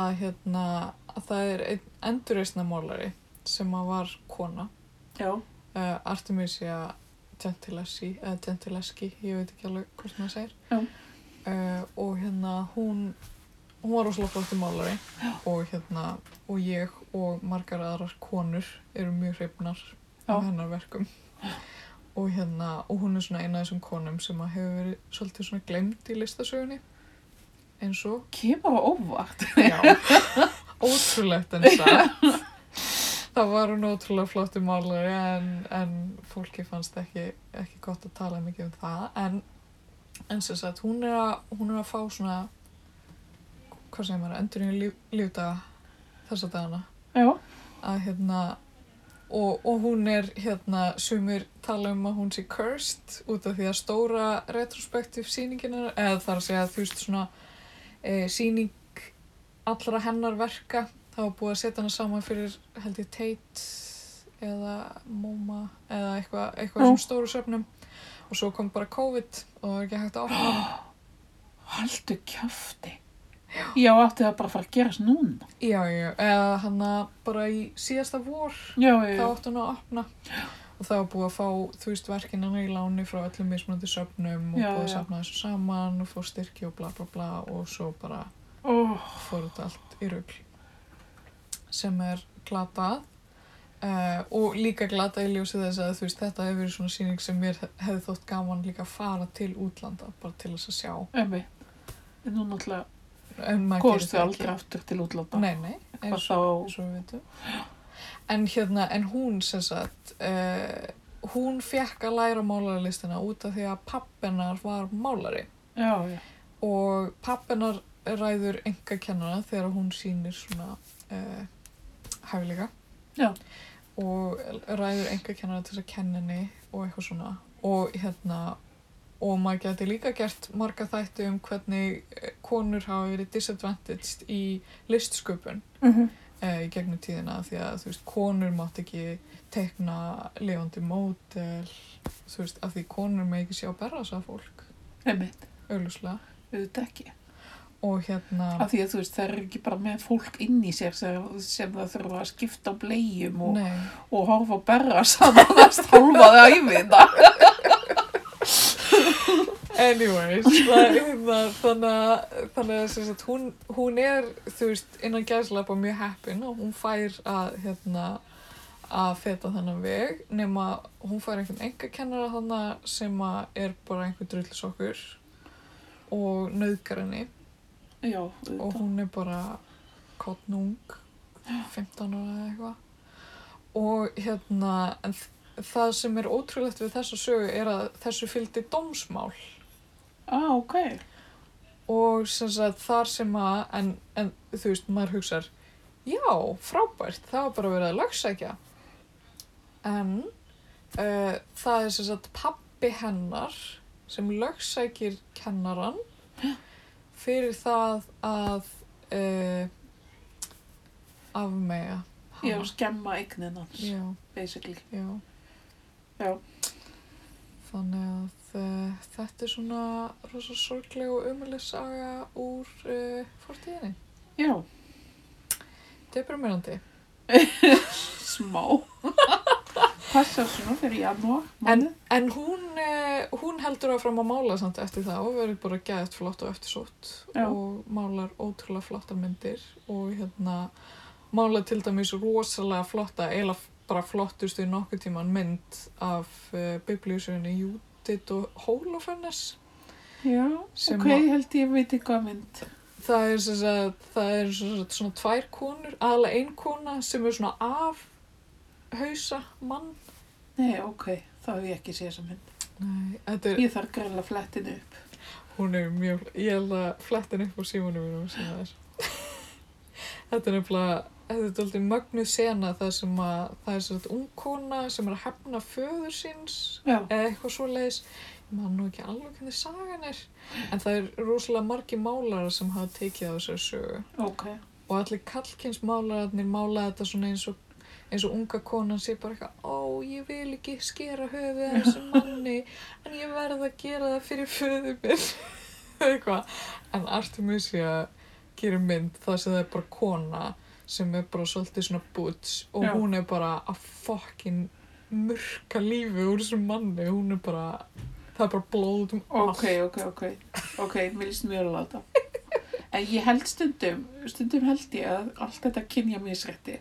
Speaker 2: að hérna að það er einn endurreisnamálari sem að var kona
Speaker 1: já,
Speaker 2: uh, Artemisia Gentileschi eða Gentileschi, eh, ég veit ekki alveg hvort maður segir
Speaker 1: Já.
Speaker 2: Eh, og hérna hún hún var rosalega flottur málari
Speaker 1: Já.
Speaker 2: og hérna og ég og margar aðrar konur eru mjög hreifnar
Speaker 1: Já.
Speaker 2: af hennar verkum og hérna og hún er svona eina af þessum konum sem að hefur verið svolítið svona glemd í listasögunni eins og
Speaker 1: kemur á óvart
Speaker 2: Já, ótrúlegt en satt. Það var hún ótrúlega flottu málari en, en fólki fannst ekki, ekki gott að tala mikið um það. En, en sem sagt, hún er að, hún er að fá svona, hvað segir maður, endur í líf, lífdaga þessa dagana.
Speaker 1: já,
Speaker 2: Að hérna, og, og hún er hérna, sumir tala um að hún sé cursed út af því að stóra retrospektiv sýningina, eða þar að segja þú veist svona e, sýning allra hennar verka það var búið að setja hana saman fyrir held ég Tate eða MoMA eða eitthvað eitthva
Speaker 1: Já.
Speaker 2: sem stóru söfnum og svo kom bara COVID og það var ekki hægt að opna hana.
Speaker 1: haldu kjafti Já, átti það bara að fara að gerast núna.
Speaker 2: Já, já, eða hann bara í síðasta vor
Speaker 1: Já, já,
Speaker 2: þá átti hann að opna og það var búið að fá, þú veist, verkinn hann í láni frá öllum mismunandi söfnum og
Speaker 1: Já,
Speaker 2: búið að
Speaker 1: já.
Speaker 2: safna þessu saman og fá styrki og bla bla bla og svo bara
Speaker 1: Ó,
Speaker 2: fór þetta allt í rugl sem er glatað uh, og líka glatað í ljósi þess að þú veist þetta hefur verið svona sýning sem mér hefði þótt gaman líka að fara til útlanda bara til þess að sjá
Speaker 1: emmi. En nú náttúrulega
Speaker 2: en maður
Speaker 1: komst
Speaker 2: gerir
Speaker 1: við
Speaker 2: það
Speaker 1: aldrei aftur til útlanda.
Speaker 2: Nei, nei,
Speaker 1: Hvað
Speaker 2: eins,
Speaker 1: þá?
Speaker 2: eins og við veitum en hérna, en hún sem sagt uh, hún fekk að læra málaralistina út af því að pappennar var málari
Speaker 1: Já, já.
Speaker 2: og pappennar ræður enga kennara þegar hún sýnir svona uh, hæfileika
Speaker 1: Já.
Speaker 2: og ræður enga kennara til þess að kenna henni og eitthvað svona og hérna og maður geti líka gert marga þætti um hvernig eh, konur hafa verið disadvantaged í listsköpun eh, í gegnum tíðina því að þú veist, konur mátt ekki tekna levandi mótel þú veist, af því konur með ekki sjá berra þess að fólk,
Speaker 1: Emmi,
Speaker 2: auðvuslega
Speaker 1: auðvitað ekki.
Speaker 2: og hérna
Speaker 1: Af því að þú veist, það eru ekki bara með fólk inn í sér sem, sem það þurfa að skipta á bleium og,
Speaker 2: nei,
Speaker 1: og horfa að berra saman að stálfaði æfina.
Speaker 2: anyways það, það, þannig að, þannig að sem sagt, hún, hún er þú veist innan gæðslapa mjög heppin og hún fær að hérna að feta þennan veg nema hún fær einhvern enga kennara þannig sem að er bara einhver drullisokkur og nauðgar henni
Speaker 1: Já,
Speaker 2: og
Speaker 1: auðvitað.
Speaker 2: hún er bara kottnung 15 ára eða eitthvað og hérna en þ- það sem er ótrúlegt við þessa sögu er að þessu fylgdi dómsmál
Speaker 1: Á, Ah, ok.
Speaker 2: og sem sagt þar sem að en, en þú veist maður hugsar já frábært það var bara verið að lagsækja en uh, það er sem sagt pappi hennar sem lagsækir kennaran fyrir það að uh, afmega
Speaker 1: Já,
Speaker 2: hana.
Speaker 1: skemma eignin hans,
Speaker 2: já,
Speaker 1: basically.
Speaker 2: já.
Speaker 1: Já.
Speaker 2: Þannig að eh, þetta er svona rosa sorgleg og umöðlega saga úr uh, fortíðinni.
Speaker 1: Já,
Speaker 2: Deprimerandi.
Speaker 1: smá. Passar svona fyrir janúar.
Speaker 2: En, en hún, eh, hún heldur áfram að mála samt eftir það og verður bara gæðt flott og eftirsótt
Speaker 1: Já.
Speaker 2: og málar ótrúlega flottar myndir og hérna málar til dæmis rosalega flotta, eiginlega bara flottustu í nokkuð tíman mynd af uh, biblíusögunni Júdit og Hólofernes.
Speaker 1: Já,
Speaker 2: sem
Speaker 1: ok,
Speaker 2: að-
Speaker 1: held ég veit ekki hvað mynd.
Speaker 2: Það er sem sagt, það er sem sagt svona tvær konur, aðalega ein kona sem er svona af hausa mann.
Speaker 1: Nei, ok, þá hef ég ekki séð þessa mynd.
Speaker 2: Nei, þetta er,
Speaker 1: Ég þarf greinlega flettinu upp.
Speaker 2: hún er mjög, ég held að flettin upp á símanu mínum sem það er. þetta er nefnilega, þetta er alltaf mögnuð sena það sem að, það er sem sagt ung kona sem er að hefna föður síns
Speaker 1: Já,
Speaker 2: eða eitthvað svo leiðis ég man nú ekki alveg hvernig sagan er en það er rosalega margi málara sem hafa tekið á þessari sögu
Speaker 1: ok.
Speaker 2: og allir kallkynsmálararnir mála þetta svona eins og eins og unga konan sé bara eitthvað ó, ég vil ekki skera höfuð að þessum manni en ég verð að gera það fyrir föðu minn eitthvað en Artemisia gerir mynd það sem það er bara kona sem er bara svolítið svona butch og
Speaker 1: Já.
Speaker 2: hún er bara að fokkin murka lífi úr þessum manni hún er bara, það er bara blóð út um
Speaker 1: Ok, ok, ok. Ok, mér líst mjög alveg á þetta. En ég held stundum, stundum held ég að allt þetta kynja misrætti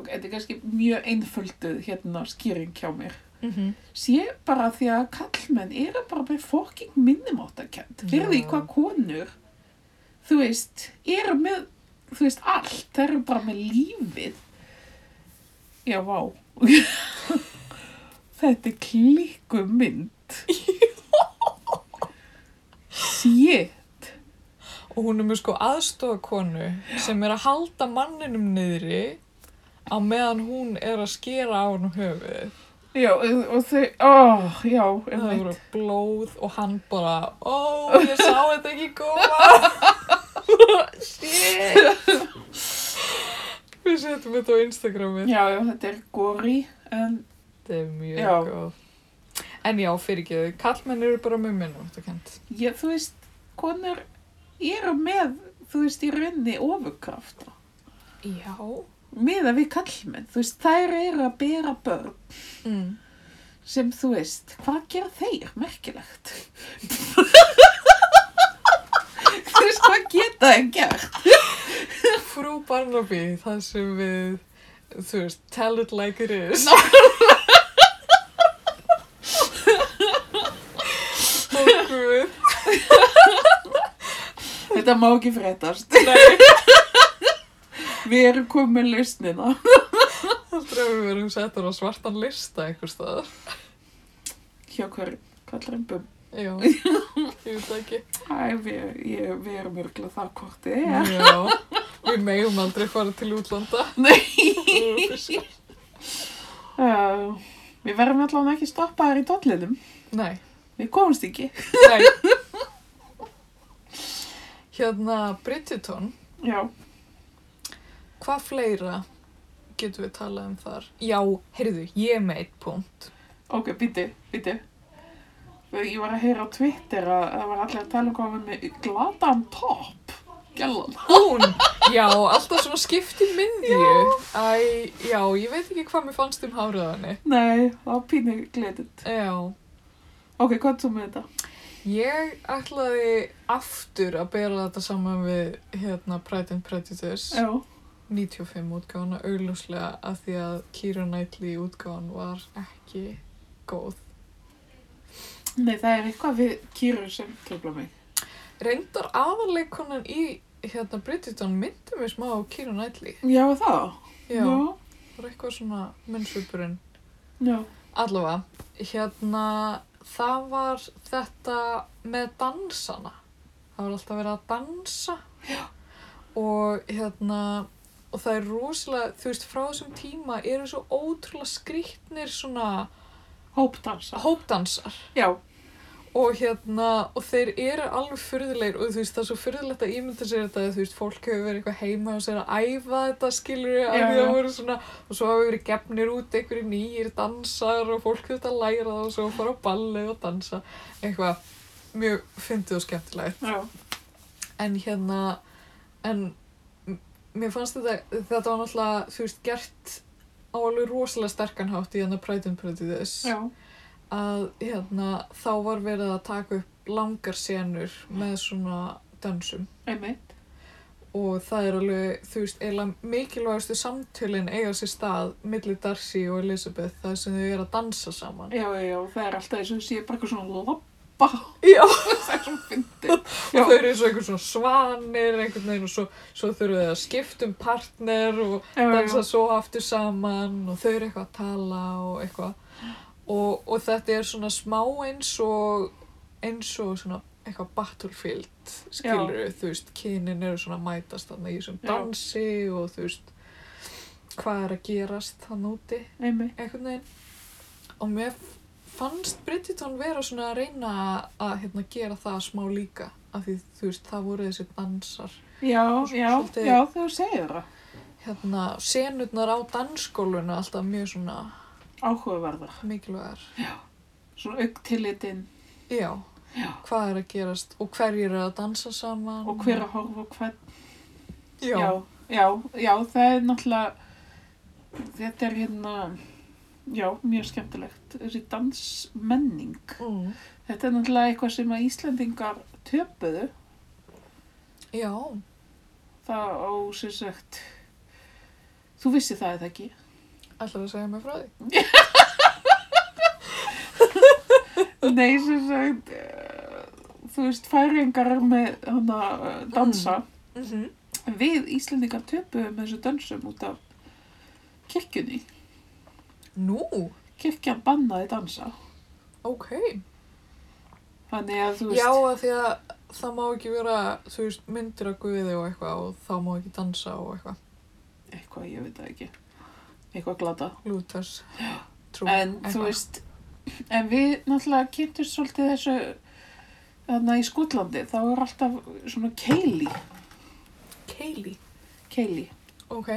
Speaker 1: og þetta er kannski mjög einfölduð hérna skýring hjá mér.
Speaker 2: mm -hmm.
Speaker 1: Sé bara því að kallmenn eru bara með fokking minnumáttakend.
Speaker 2: Já.
Speaker 1: Fyrir því hvað konur, þú veist, eru með, þú veist, allt. Það eru bara með lífið. Já, vá. þetta er klikkumynd. Shit.
Speaker 2: og hún er með sko aðstofakonu sem er að halda manninum niðri á meðan hún er að skera á hann höfuð
Speaker 1: Já, og og þau, ó, já,
Speaker 2: það
Speaker 1: einmitt.
Speaker 2: eru blóð og hann bara ó, ég sá þetta ekki koma shit við setjum þetta á Instagrami
Speaker 1: Já, já, þetta er gori, en
Speaker 2: þetta er mjög
Speaker 1: Já.
Speaker 2: góð en já, fyrir ekki, kallmenn eru bara með minnum þetta kent
Speaker 1: ég, þú veist, konur eru með, þú veist, í rauninni ofurkrafta.
Speaker 2: Já.
Speaker 1: Miða við kallmenn, þú veist, þær eru að bera börn
Speaker 2: Mm.
Speaker 1: sem, þú veist, hvað gera þeir merkilegt? þú veist, hvað geta þeir gert?
Speaker 2: Frú Barnaby, það sem við, þú veist, tell it like it is. Ó, Guð.
Speaker 1: Þetta má ekki fréttast.
Speaker 2: Nei,
Speaker 1: Við erum komið með lausnina.
Speaker 2: heldur að við verum settar á svartan lista einhvers staðar.
Speaker 1: Hjá hverjum, kallar einn bum.
Speaker 2: Já, ég veit það ekki.
Speaker 1: Æ, við, ég, við erum örgulega það hvort þið
Speaker 2: Mm.
Speaker 1: er.
Speaker 2: Já, við megum aldrei fara til útlanda. Nei.
Speaker 1: Uh, við verðum allavega ekki stoppaðar í dollinum.
Speaker 2: Nei.
Speaker 1: Við komumst ekki.
Speaker 2: Nei. Hérna, Bridgerton,
Speaker 1: Já.
Speaker 2: hvað fleira getum við talað um þar? Já, heyrðu, ég er með eitt punkt.
Speaker 1: Ok, býtu, býtu. Ég var að heyra á Twitter að það var allir að tala um hvað hann var með glatan topp. Gjallan.
Speaker 2: Hún, já, alltaf svona skipt í miðju. Já. Æ, já, ég veit ekki hvað mér fannst um háraðanni.
Speaker 1: Nei, það var pínu gledit.
Speaker 2: Já,
Speaker 1: Ok, hvað þú með þetta?
Speaker 2: ég ætlaði aftur að bera þetta saman við, hérna, Pride and Prejudice.
Speaker 1: Já.
Speaker 2: 95 útgáfana augljóslega af því að Keira Knightley útgáfan var ekki góð.
Speaker 1: Nei, það er eitthvað við kýru sem tröfla mig.
Speaker 2: Reyndar aðarleikonan í hérna Bridgerton myndi mig smá á Keira Knightley.
Speaker 1: Já, það.
Speaker 2: Já,
Speaker 1: Já.
Speaker 2: það var eitthvað svona munnsvipurinn.
Speaker 1: Já.
Speaker 2: Allavega, hérna það var þetta með dansana. Það var alltaf verið að dansa. Já. Og hérna, og það er rosalega, þú veist, frá þessum tíma eru svo ótrúlega skrýtnir svona
Speaker 1: Hópdansa.
Speaker 2: hópdansar.
Speaker 1: Já.
Speaker 2: Og hérna, og þeir eru alveg fyrðulegir og þú veist, það er svo fyrðulegt að ímynda sér þetta, þú veist, fólk hefur verið eitthvað heima og sér að æfa þetta, skilur við, að
Speaker 1: Já,
Speaker 2: því það
Speaker 1: já.
Speaker 2: voru svona, og svo hafa verið gefnir út einhverju nýjir dansar og fólk hefur þetta að læra það og svo fara á ballið og dansa, eitthvað, mjög fyndið og skemmtilegt.
Speaker 1: Já.
Speaker 2: En hérna, en m- mér fannst þetta, þetta var náttúrulega, þú veist, gert á alveg rosalega sterkan hátt í hérna Pride and Prejudice
Speaker 1: Já.
Speaker 2: að hérna, þá var verið að taka upp langar senur með svona dansum
Speaker 1: Einmitt.
Speaker 2: og það er alveg, þú veist, eiginlega mikilvægastu samtölin eiga sér stað milli Darcy og Elizabeth þar sem þau eru að dansa saman.
Speaker 1: Já, já, já. Það er alltaf eins og sé bara eitthvað svona loppa.
Speaker 2: Já,
Speaker 1: það er svona fyndið. Já.
Speaker 2: þau eru eins og einhvern svona svanir einhvern veginn og svo, svo þurfum þau að skipta um partner og
Speaker 1: Já,
Speaker 2: dansa
Speaker 1: já.
Speaker 2: svo aftur saman og þau eru eitthvað að tala og eitthvað og, og þetta er svona smá eins og eins og svona eitthvað battlefield skilur þú veist, kynin eru svona að mætast þannig í þessum
Speaker 1: Já.
Speaker 2: dansi og þú veist hvað er að gerast þann úti
Speaker 1: Einmitt.
Speaker 2: einhvern veginn og mér fannst Bridgerton vera svona að reyna að hérna, gera það smá líka af því þú veist, það voru þessi dansar
Speaker 1: Já, já,
Speaker 2: Svolítið-
Speaker 1: já, þú segir það.
Speaker 2: hérna, senurnar á dansskóluna alltaf mjög svona
Speaker 1: Áhugaverðar.
Speaker 2: mikilvægar.
Speaker 1: Svona augtillitinn
Speaker 2: Já.
Speaker 1: Já.
Speaker 2: Hvað er að gerast og hverjir eru að dansa saman.
Speaker 1: og hver að horfa á hvern.
Speaker 2: Já.
Speaker 1: já, já, já, það er náttúrulega, þetta er hérna, já, mjög skemmtilegt. Þessi dansmenning.
Speaker 2: Mm.
Speaker 1: Þetta er náttúrulega eitthvað sem að Íslandingar töpuðu.
Speaker 2: Já.
Speaker 1: Það á, sem sagt, þú vissi það eða ekki.
Speaker 2: Ætlar að segja mér frá því?
Speaker 1: Nei, sem sagt, uh, þú veist, færingar er með hana, eh, dansa.
Speaker 2: Mm -hmm.
Speaker 1: Mhm. Við Íslandingar töpuðum þessu dansum út af kirkjunni.
Speaker 2: Nú.
Speaker 1: Kirkjan bannaði dansa.
Speaker 2: Ok.
Speaker 1: Þannig að þú veist...
Speaker 2: Já að því að það má ekki vera, þú veist, myndir að guði og eitthvað og þá má ekki dansa og eitthvað.
Speaker 1: eitthvað, ég veit það ekki eitthvað glata
Speaker 2: Lúters. Trú.
Speaker 1: en þú
Speaker 2: eitthvað.
Speaker 1: veist en við náttúrulega kynntum svolítið þessu þarna í Skotlandi þá er alltaf svona keili
Speaker 2: Keili.
Speaker 1: keili
Speaker 2: Ok.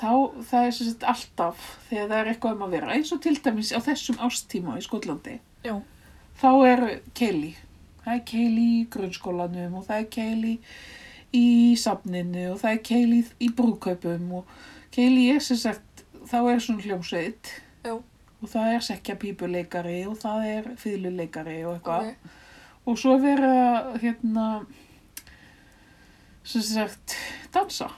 Speaker 1: þá það er sem sagt alltaf þegar það er eitthvað um að vera eins og til dæmis á þessum ástíma í Skotlandi
Speaker 2: Já.
Speaker 1: þá eru keili það það er keili í grunnskólanum og það er keili í safninu og það er keili í brúkaupum og keili er sem sagt, þá er svona hljómsveit
Speaker 2: Já.
Speaker 1: og það er sekja pípuleikari og það er fýluleikari og eitthvað
Speaker 2: ok.
Speaker 1: og svo er verið að hérna sem sagt dansa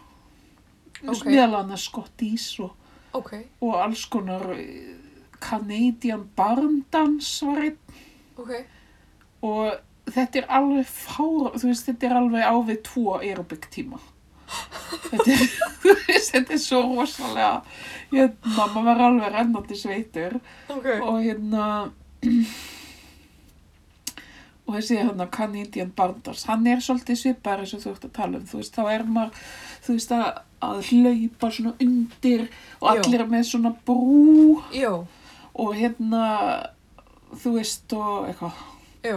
Speaker 2: Ok.
Speaker 1: meðal annars skottís og,
Speaker 2: Ok,
Speaker 1: og alls konar eh, Canadian barndans var einn
Speaker 2: ok,
Speaker 1: og þetta er alveg fár, þú veist, þetta er alveg á við tvo aerobik tíma. Þetta er, þú veist, þetta er svo rosalega, hérna, maður var alveg rennandi sveitur
Speaker 2: ok.
Speaker 1: og hérna, og þessi hérna Canadian Barndars, hann er svolítið svipar eins og þú ert að tala um, þú veist, þá er maður, þú veist, að, að hlaupa svona undir og
Speaker 2: Já.
Speaker 1: allir með svona brú
Speaker 2: Jó,
Speaker 1: og hérna, þú veist, og eitthvað
Speaker 2: jó,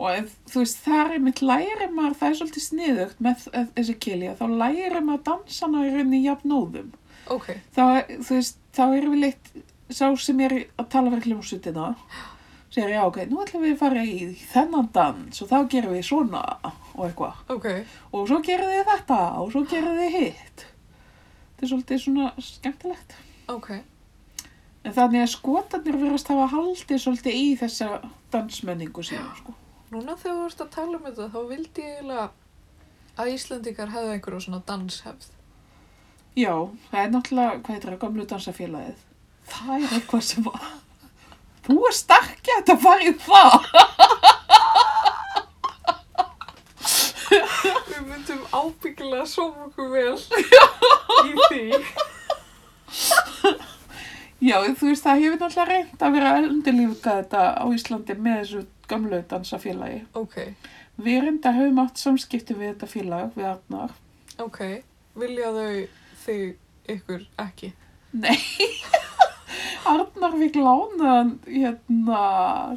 Speaker 1: og ef, þú veist, þar er mitt læri maður, það er svolítið sniðugt með þ- þessi kilja, þá læri maður dansana í rauninni jafnóðum.
Speaker 2: ok,
Speaker 1: Þá, er- þú veist, þá er við leitt sá sem er að tala fyrir hljómsutina, segir já, ok, nú ætlum við að fara í þennan dans og þá gerum við svona og eitthvað.
Speaker 2: ok.
Speaker 1: Og svo gerum við þetta og svo gerum við hitt. Þetta er svolítið svona skemmtilegt.
Speaker 2: Ok,
Speaker 1: En þannig að skotarnir verðast hafa haldið svolítið í þessa dansmenningu síðan, sko.
Speaker 2: núna þegar þú vorst að tala um þetta þá vildi ég eiginlega að Íslendingar hefðu einhverju svona danshefð.
Speaker 1: Já, það er náttúrulega, hvað heitir það, gamlu dansafélagið. Það er eitthvað sem var... Þú er starkið að þetta fara í það.
Speaker 2: Við myndum ábyggilega sóma okkur vel í því.
Speaker 1: Já, þú veist, það hefur náttúrulega reynd að vera að undirlífga þetta á Íslandi með þessu gamlu dansafélagi.
Speaker 2: Ok,
Speaker 1: Við reynda höfum átt samskipti við þetta félag, við Arnar.
Speaker 2: ok. Vilja þau þig ykkur ekki?
Speaker 1: Nei, Arnar fikk lánaðan, hérna,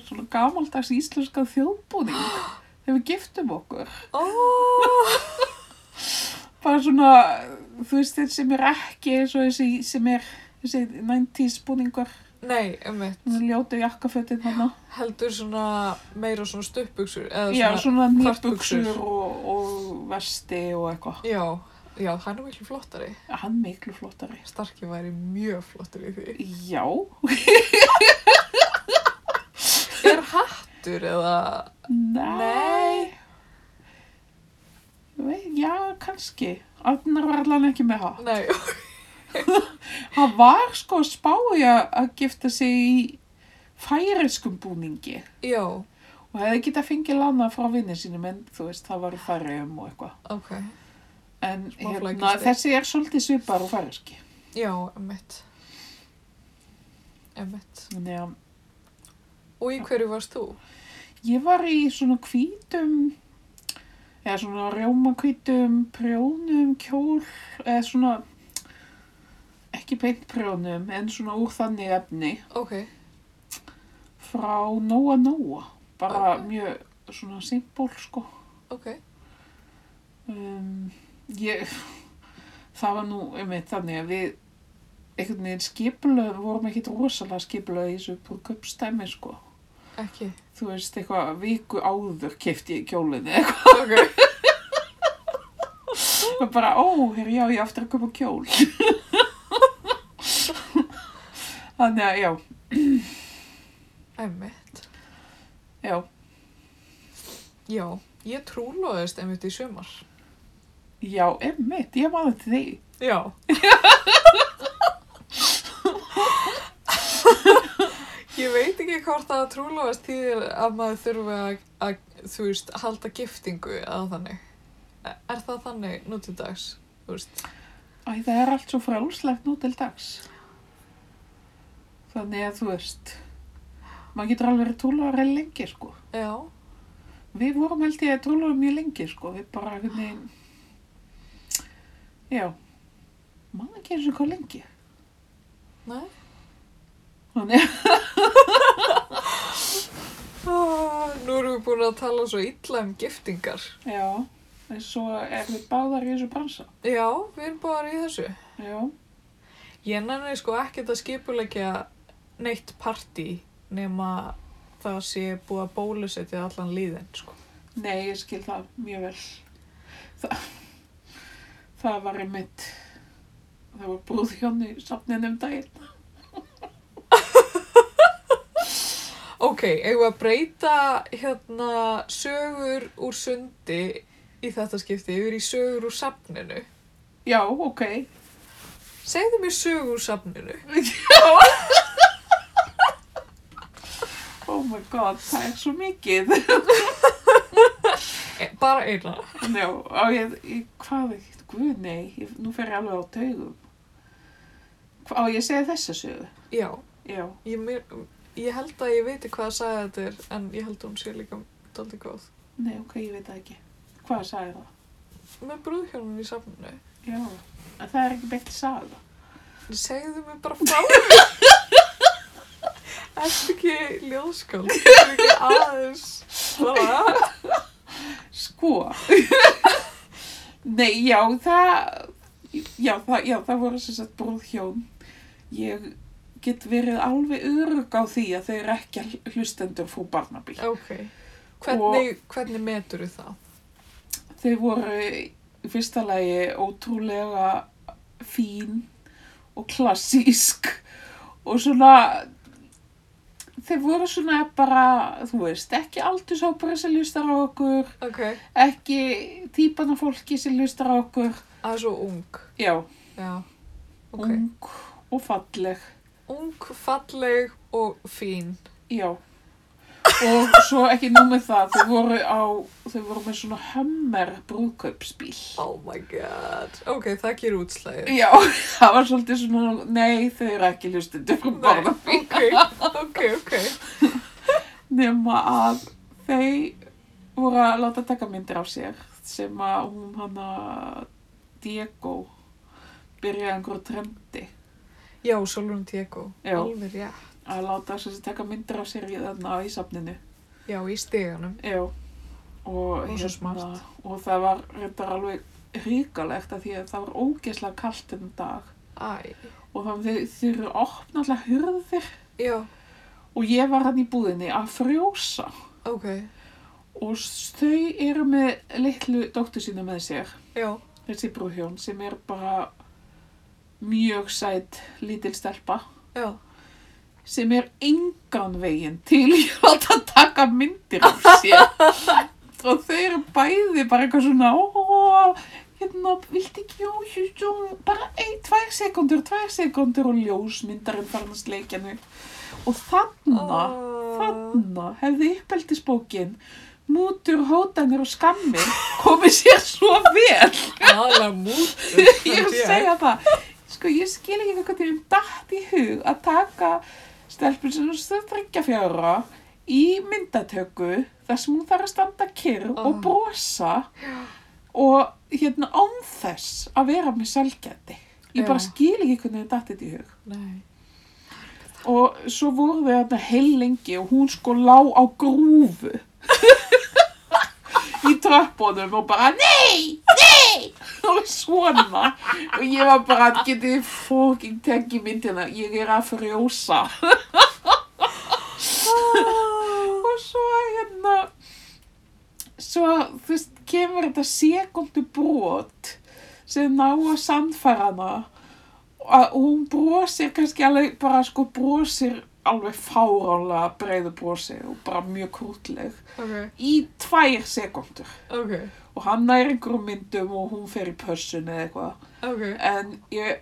Speaker 1: svona gamaldags íslenska þjóðbúning þegar við giftum okkur.
Speaker 2: Ó,
Speaker 1: bara svona, þú veist, þeir sem er ekki eins og þessi sem er þessi 90s búningur
Speaker 2: nei, emmitt.
Speaker 1: svona ljótu jakkafötin hana
Speaker 2: Heldur svona meira svona stuppbuksur eða
Speaker 1: já, svona
Speaker 2: hvartbuxur.
Speaker 1: nýbuksur og, og vesti og eitthvað
Speaker 2: Já, já, það er nú miklu flottari.
Speaker 1: hann miklu flottari
Speaker 2: Starki væri mjög flottur í því.
Speaker 1: já,
Speaker 2: Er hattur eða...
Speaker 1: nei,
Speaker 2: Nei.
Speaker 1: Vei, já, kannski Arnar var allan ekki með það
Speaker 2: Nei,
Speaker 1: hann var sko að spái að að gifta sig í færiskum búningi
Speaker 2: já,
Speaker 1: og hefði getað fengið lana frá vinni sínum en þú veist, það var í færiðum og eitthvað
Speaker 2: ok.
Speaker 1: En
Speaker 2: Smá
Speaker 1: hérna,
Speaker 2: flækjustig.
Speaker 1: þessi er svolítið svipar og færiski.
Speaker 2: Já, emmitt. Emmitt.
Speaker 1: Þannig að
Speaker 2: Og í hverju varst þú?
Speaker 1: ég var í svona hvítum, eða svona rjómakvítum, prjónum, kjól, eða svona, ekki beint prjónum, en svona úr þannig efni
Speaker 2: Ok,
Speaker 1: frá Nóa Nóa. Bara
Speaker 2: Ok.
Speaker 1: mjög svona simpól, sko.
Speaker 2: ok.
Speaker 1: Um, ég, það var nú, einmitt, þannig að við einhvern veginn skipulöð, vorum ekkit rosalega skipulöð í þessu brúköpstæmi, sko.
Speaker 2: Ekki.
Speaker 1: þú veist, eitthvað viku áður kefti ég kjólinn eða eitthvað.
Speaker 2: Ok.
Speaker 1: Og bara, ó, hér, já, ég á eftir að köpa kjól. Þannig að, já,
Speaker 2: Emmitt.
Speaker 1: já,
Speaker 2: Já, ég trúlóðist emmitt í sumar.
Speaker 1: já, emmitt, ég maður til því.
Speaker 2: Já. ég veit ekki hvort að trúlóðast þýðir að maður þurfi að, að, þú veist, halda giftingu eða þannig. E, Er það þannig nú til dags? Þú veist,
Speaker 1: Æ, það er allt svo frálslegt nú til dags. Þannig að, þú veist, maður getur alveg verið trúlóðar en lengi, sko.
Speaker 2: já,
Speaker 1: Við vorum held ég að trúlóðum mjög lengi, sko, við bara, hvernig, já, maður ekki eins og hvað lengi.
Speaker 2: nei.
Speaker 1: Þannig
Speaker 2: Ah, nú erum við búin að tala svo illa um giftingar.
Speaker 1: Já, en svo er við báðar í þessu bransa.
Speaker 2: Já, við erum bara í þessu.
Speaker 1: Já,
Speaker 2: Ég nenni sko ekkert að skipulegja neitt partí nema það sé búið að bólusetja allan líðin, sko.
Speaker 1: Nei, ég skil það mjög vel. Það, það var einmitt, það var brúðhjón í safninu um daginn.
Speaker 2: Ok, eigum við að breyta hérna sögur úr sundi í þetta skipti yfir í sögur úr safninu.
Speaker 1: Já, ok.
Speaker 2: Segðu mér sögur úr safninu.
Speaker 1: Oh my god, það er svo mikið.
Speaker 2: E, bara eina.
Speaker 1: Já, á ég, ég hvað ekki, guð nei, ég, nú fer ég alveg á taugum. Hva, á ég að segja þessa sögu?
Speaker 2: Já,
Speaker 1: Já,
Speaker 2: ég, mér, ég held að ég veit hvað að sagði þetta er, en ég held að hún sé líka daldið góð.
Speaker 1: nei, ok, ég veit það ekki. Hvað sagði það?
Speaker 2: Með brúðhjónum í safninu.
Speaker 1: Já, en það er ekki beint saga.
Speaker 2: Segðu mér bara frá því. Ertu ekki ljóðskál? Ertu ekki aðeins? Bara,
Speaker 1: Sko. nei, já, það, já, það, já, það voru sem sagt brúðhjón. Ég get verið alveg örug á því að þau eru ekki hlustendur frú Barnaby.
Speaker 2: ok. Hvernig, hvernig metur þú það?
Speaker 1: Þau voru í fyrsta lagi ótrúlega fín og klassísk og svona, þau voru svona bara, þú veist, ekki aldurshópari sem hlustar á okkur,
Speaker 2: Ok.
Speaker 1: ekki típan af fólki sem hlustar á okkur,
Speaker 2: Það er svo ung.
Speaker 1: já,
Speaker 2: Já. Ok. Ung,
Speaker 1: ung og falleg,
Speaker 2: falleg og fín.
Speaker 1: já. Og svo ekki númið það, þau voru á, þau voru með svona hömmer brúðkaupsbíl.
Speaker 2: Oh my god. Ok, það gerur útslæðið.
Speaker 1: Já, það var svolítið svona, nei þau eru ekki hlustendur frá barna
Speaker 2: ok, ok, ok.
Speaker 1: nema að þau voru að láta taka myndir af sér sem að hún hana Diego byrjaði einhverju trendi
Speaker 2: Já, Solrún Diego.
Speaker 1: Já.
Speaker 2: Alveg rétt.
Speaker 1: að láta þess að taka myndir af sér í þarna í safninu.
Speaker 2: Já, í steganum.
Speaker 1: Já, og, hérna,
Speaker 2: Rosa smart.
Speaker 1: og það var reyndar alveg ríkalegt að því að það var ógeðslega kalt enn dag
Speaker 2: Æ.
Speaker 1: og þannig þau þau eru opna alltaf hurðir
Speaker 2: Já,
Speaker 1: og ég var hann í búðinni að frjósa.
Speaker 2: ok.
Speaker 1: Og s- þau eru með litlu dóttur sína með sér,
Speaker 2: Já,
Speaker 1: þessi brúðhjón, sem er bara mjög sætt lítil stelpa,
Speaker 2: já.
Speaker 1: sem er engan veginn til í að láta taka myndir af sér. og þau eru bæði bara eitthvað svona, ó, hérna, viltu ekki, ó, jú, jú, bara ein, tvær sekundur, tvær sekundur og ljósmyndarinn farin að sleikja henni. Og þarna... Þarna hefði uppeldisbókin mútur, hótanir og skammir komið sér svo vel.
Speaker 2: Alla mútur.
Speaker 1: Ég er að segja það. Sko, ég skil ekki eitthvað til um dætt í hug að taka stelpur sem er þryggja fjára í myndatöku þar sem hún þarf að standa kyrr
Speaker 2: Ah.
Speaker 1: og brosa og hérna án þess að vera með selgjandi. Ég bara
Speaker 2: Já.
Speaker 1: skil ekki hvernig þetta datt þetta í hug.
Speaker 2: Nei.
Speaker 1: Og svo voru þau þetta heil lengi og hún sko lá á grúfu í tröppunum og bara Nei! Nei! Og svona. Og ég var bara að geti fóking tekið myndina. Ég er að frjósa. og svo hérna svo þú veist kemur þetta sekundu brot sem ná að sannfæra hana að hún brosir kannski alveg bara sko brosir alveg fáránlega breiðu brosi og bara mjög krútleg
Speaker 2: Ok,
Speaker 1: í tvær sekundur
Speaker 2: ok,
Speaker 1: og hann nær einhverjum myndum og hún fer í pössun eða eitthvað
Speaker 2: ok.
Speaker 1: en ég,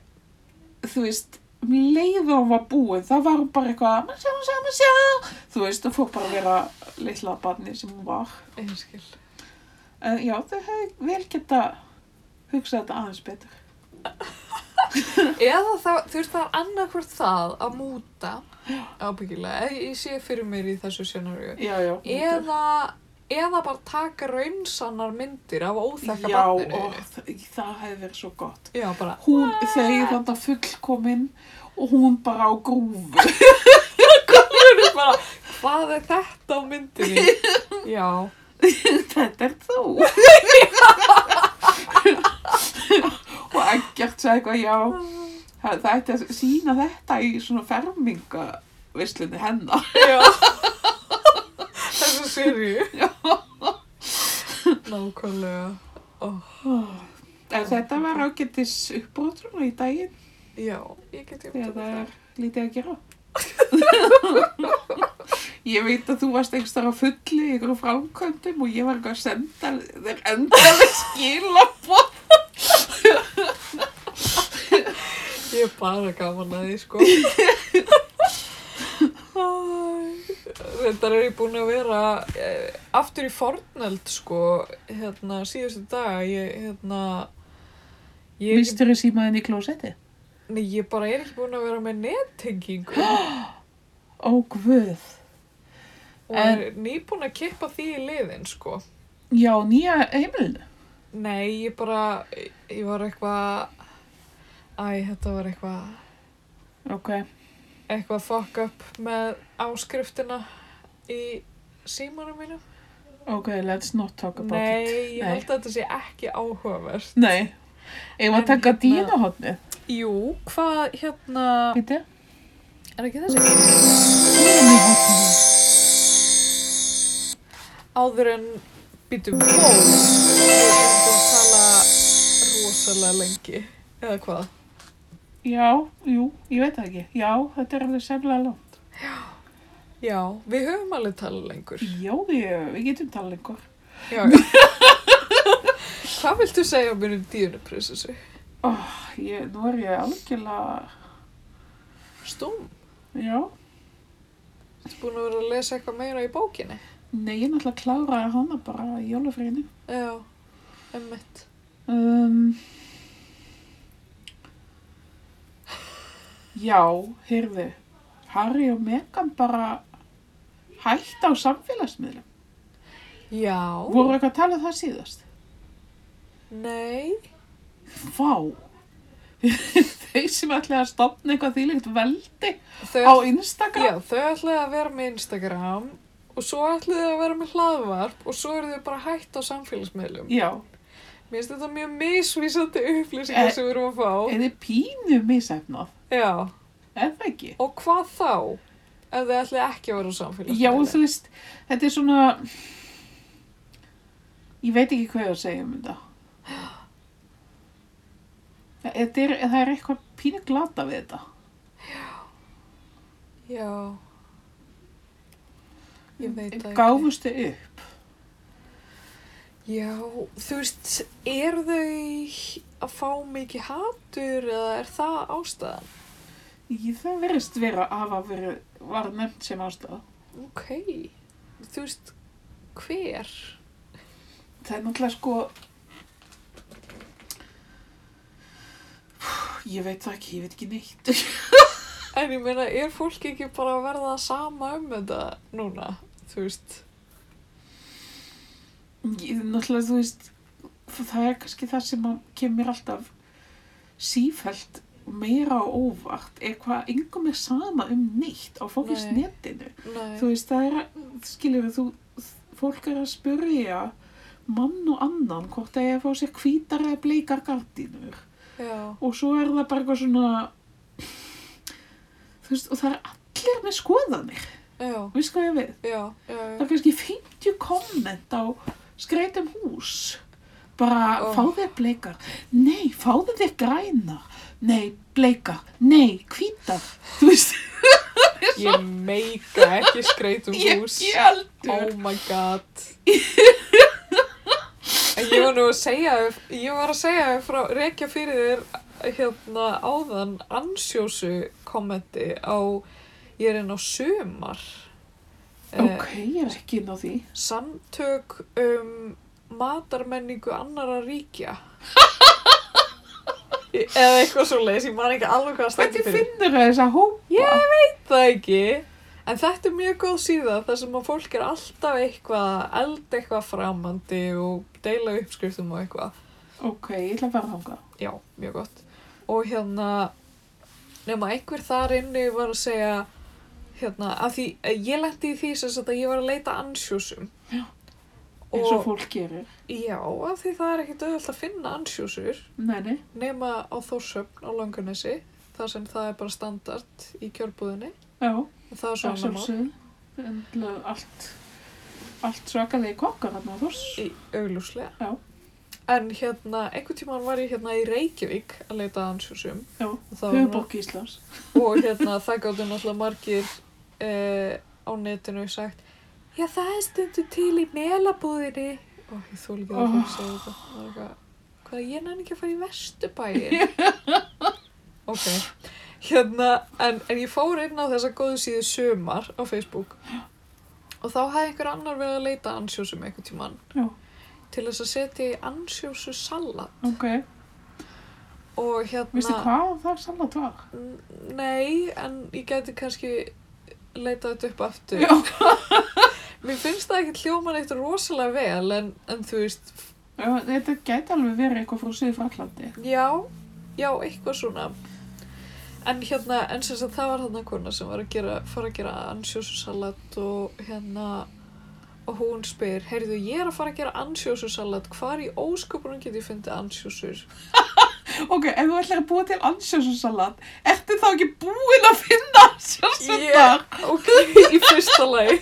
Speaker 1: þú veist um leið og hún var búin þá var hún bara eitthvað "Má sjá, má sjá, má sjá." þú veist, þú fór bara að vera litla barni sem hún var
Speaker 2: Ég skil.
Speaker 1: En já, þau hefði vel geta hugsað þetta aðeins betur.
Speaker 2: Eða þá, þú veist það er annarkvort það að múta ábyggilega, eða ég sé fyrir mér í þessu scenariu
Speaker 1: Já, já. myndir.
Speaker 2: eða, eða bara taka raunsannar myndir af óþekka
Speaker 1: Já,
Speaker 2: barninu
Speaker 1: og það, það hefði verið svo gott.
Speaker 2: Já, bara
Speaker 1: Hún, þau þetta fullkomin og hún bara á grúfu.
Speaker 2: Hún er bara, hvað er þetta á myndinni? Já,
Speaker 1: þetta er þú. og ekkert sagði eitthvað, já, það, það ætti að sína þetta í svona fermingavislunni hennar.
Speaker 2: já seríu. Nákvæmlega.
Speaker 1: Ah. En þetta var ágættis uppbrotur í daginn
Speaker 2: Já, ég get ég
Speaker 1: þegar það er lítið að gera. Ég veit að þú varst einhvers þar á fulli í ykkur framkvæmdum og ég var eitthvað að senda þér endaleg skilabóð.
Speaker 2: Ég er bara gaman að því, sko. Þetta er ég búin að vera eh, aftur í fornöld, sko, hérna, síðustu daga, ég, hérna, ég er, ekki,
Speaker 1: Mistur þú símaðin í klósetti?
Speaker 2: nei, ég bara er ekki búin að vera með nettengingu
Speaker 1: Ó, guð.
Speaker 2: og er nýbúin að kippa því í liðin, sko.
Speaker 1: Já, nýja heimilinu.
Speaker 2: Nei, ég bara, ég var eitthvað, æ, þetta var eitthvað,
Speaker 1: Ok.
Speaker 2: eitthvað fuck up með áskriftina í símanum mínum.
Speaker 1: Ok, let's not talk about it.
Speaker 2: Nei, ég
Speaker 1: Nei.
Speaker 2: held að þetta sé ekki áhugavert.
Speaker 1: Nei. Ég var að taka
Speaker 2: En hérna-
Speaker 1: dýnahotnið.
Speaker 2: Jú, hvað hérna...
Speaker 1: Býtti?
Speaker 2: Er ekki þessi?
Speaker 1: Dýnahotnið.
Speaker 2: Áður en býtum ból. Við erum búin að tala rosalega lengi. Eða hvað?
Speaker 1: Já, jú, ég veit það ekki. Já, þetta er alveg semlega langt.
Speaker 2: Já, við höfum alveg talað lengur.
Speaker 1: Já, ég, við getum talað lengur.
Speaker 2: Já. hvað viltu segja mér um dýruprinsessu?
Speaker 1: Oh, ég, nú er ég algjörlega,
Speaker 2: Stúm.
Speaker 1: já.
Speaker 2: Ertu búin að vera að lesa eitthvað meira í bókinni?
Speaker 1: Nei, ég náttúrulega kláraði hana bara í jólafriðinu.
Speaker 2: Já, emmitt.
Speaker 1: Um, já, heyrðu, Harry og Meghan bara hætt á samfélagsmiðlum.
Speaker 2: Já.
Speaker 1: Voru eitthvað að tala um það síðast?
Speaker 2: Nei.
Speaker 1: Vá! Þeir sem ætlaði að stopna eitthvað þýlíkt veldi
Speaker 2: Þau
Speaker 1: á Instagram.
Speaker 2: Já, þau ætlaði að vera með Instagram og svo ætlaði þau að vera með hlaðvarp og svo eru þau bara hætt á samfélagsmiðlum.
Speaker 1: Já,
Speaker 2: Mér finnst þetta mjög misvísandi upplýsingar
Speaker 1: Eh,
Speaker 2: sem við erum að fá.
Speaker 1: eða pínu misefnað,
Speaker 2: Já,
Speaker 1: er það ekki?
Speaker 2: og hvað þá ef þau ætlaði ekki að vera á
Speaker 1: Já,
Speaker 2: samfélagsmiðlum?
Speaker 1: þú veist, þetta er svona, ég veit ekki hvað ég á að segja um þetta. þetta er, það er eitthvað pínu glata við þetta.
Speaker 2: Já. Ég veit það
Speaker 1: Gáfustu upp.
Speaker 2: Já, þú veist, eru þau að fá mikið hatur eða er það ástæðan?
Speaker 1: Ég, það verðist vera að hafa verið, var nefnt sem ástæða.
Speaker 2: Ok, þú veist, hver?
Speaker 1: Það er náttúrulega sko, ég veit það ekki, ég veit ekki neitt.
Speaker 2: En ég meina, er fólk ekki bara að verða sama um þetta núna? Þú veist,
Speaker 1: Ég, náttúrulega, þú veist, það er kannski það sem að kemur alltaf sífælt meira á óvart er hvað engum er sama um neitt á fólkist
Speaker 2: Nei.
Speaker 1: netinu.
Speaker 2: nei,
Speaker 1: Þú veist, það er, skilur við, þú, fólk er að spyrja mann og annan hvort það er að fá sér hvítar eða bleikar gardínur
Speaker 2: já,
Speaker 1: og svo er það bara eitthvað svona, þú veist, og það er allir með skoðanir,
Speaker 2: já,
Speaker 1: veist hvað ég á við?
Speaker 2: já, já,
Speaker 1: það
Speaker 2: já,
Speaker 1: er kannski 50 komment á skreitum hús bara
Speaker 2: Oh.
Speaker 1: fá þér bleikar nei, fáðu þér græna nei, bleikar, nei, hvítar þú veist,
Speaker 2: ég meika ekki skreytum
Speaker 1: ég,
Speaker 2: hús,
Speaker 1: ég heldur
Speaker 2: oh my god. En ég var nú að segja, þér- ég var að segja þér frá, rekja fyrir þér hérna áðan ansjósu kommenti á, ég er inn á sumar. Eh,
Speaker 1: ok, ég er ekki inn á því
Speaker 2: Samtök um matarmenningu annara ríkja Eða eitthvað svo leiðis, ég man ekki alveg hvað það stendur
Speaker 1: hvernig
Speaker 2: fyrir
Speaker 1: finnur það þess að hópa
Speaker 2: Ég veit það ekki En þetta er mjög góð síða þar sem að fólk er alltaf eitthvað að elda eitthvað framandi og deila uppskriftum og eitthvað
Speaker 1: ok, ég ætla að fara þangað
Speaker 2: Já, mjög gott. Og hérna, nema einhver þar inni var að segja, hérna, að því, eh, ég lendi í því sem sagt að ég var að leita ansjósum.
Speaker 1: Já. eins og
Speaker 2: Og,
Speaker 1: fólk gerir
Speaker 2: já, af því það er ekkit auðvitað að finna ansjósur,
Speaker 1: nei, nei,
Speaker 2: nema á Þórsöfn á Langanesi, þar sem það er bara standard í kjörbúðinni.
Speaker 1: já,
Speaker 2: Það er
Speaker 1: það
Speaker 2: svona mál.
Speaker 1: sjálfsögð Endla allt allt svakalegi kokkar hann á þoss.
Speaker 2: í auglúslega.
Speaker 1: Já.
Speaker 2: En hérna, einhvern tímann var ég hérna í Reykjavík að leita að ansjósum.
Speaker 1: Já,
Speaker 2: og það var nú-
Speaker 1: höfuborg Íslands.
Speaker 2: Og hérna, það gáttu náttúrulega margir eh, á netinu sagt, já það er stundu til í melabúðinni. Ó, ég þúl ekki að
Speaker 1: Oh.
Speaker 2: fólk segja þetta. Það er eitthvað, hvað ég nenni ekki að fara í vesturbæin. ok. Hérna, en, en ég fór inn á þessa góðu síðu sumar á Facebook. Og þá hafði einhver annar verið að leita að ansjósum einhvern tímann.
Speaker 1: Já,
Speaker 2: til þess að setja í ansjósu salat
Speaker 1: ok.
Speaker 2: og hérna
Speaker 1: Vistu hvað það salat var?
Speaker 2: N- Nei, en ég geti kannski leitað þetta upp aftur
Speaker 1: Já,
Speaker 2: Mér finnst það ekki hljóman eitt rosalega vel en, en þú veist,
Speaker 1: Já, þetta gæti alveg verið eitthvað frá Suður-Fraklandi.
Speaker 2: já, já, eitthvað svona En hérna, en sem sagt það var þarna kona sem var að gera, fara að gera ansjósusalat og hérna og hún spyr, heyrðu, ég er að fara að gera ansjósusalat, hvar í ósköpunum get ég fundið ansjósur?
Speaker 1: Ok, ef þú ætlar að búa til ansjósusalat, ertu þá ekki búin að finna ansjósusundar?
Speaker 2: Ok, í fyrsta lagi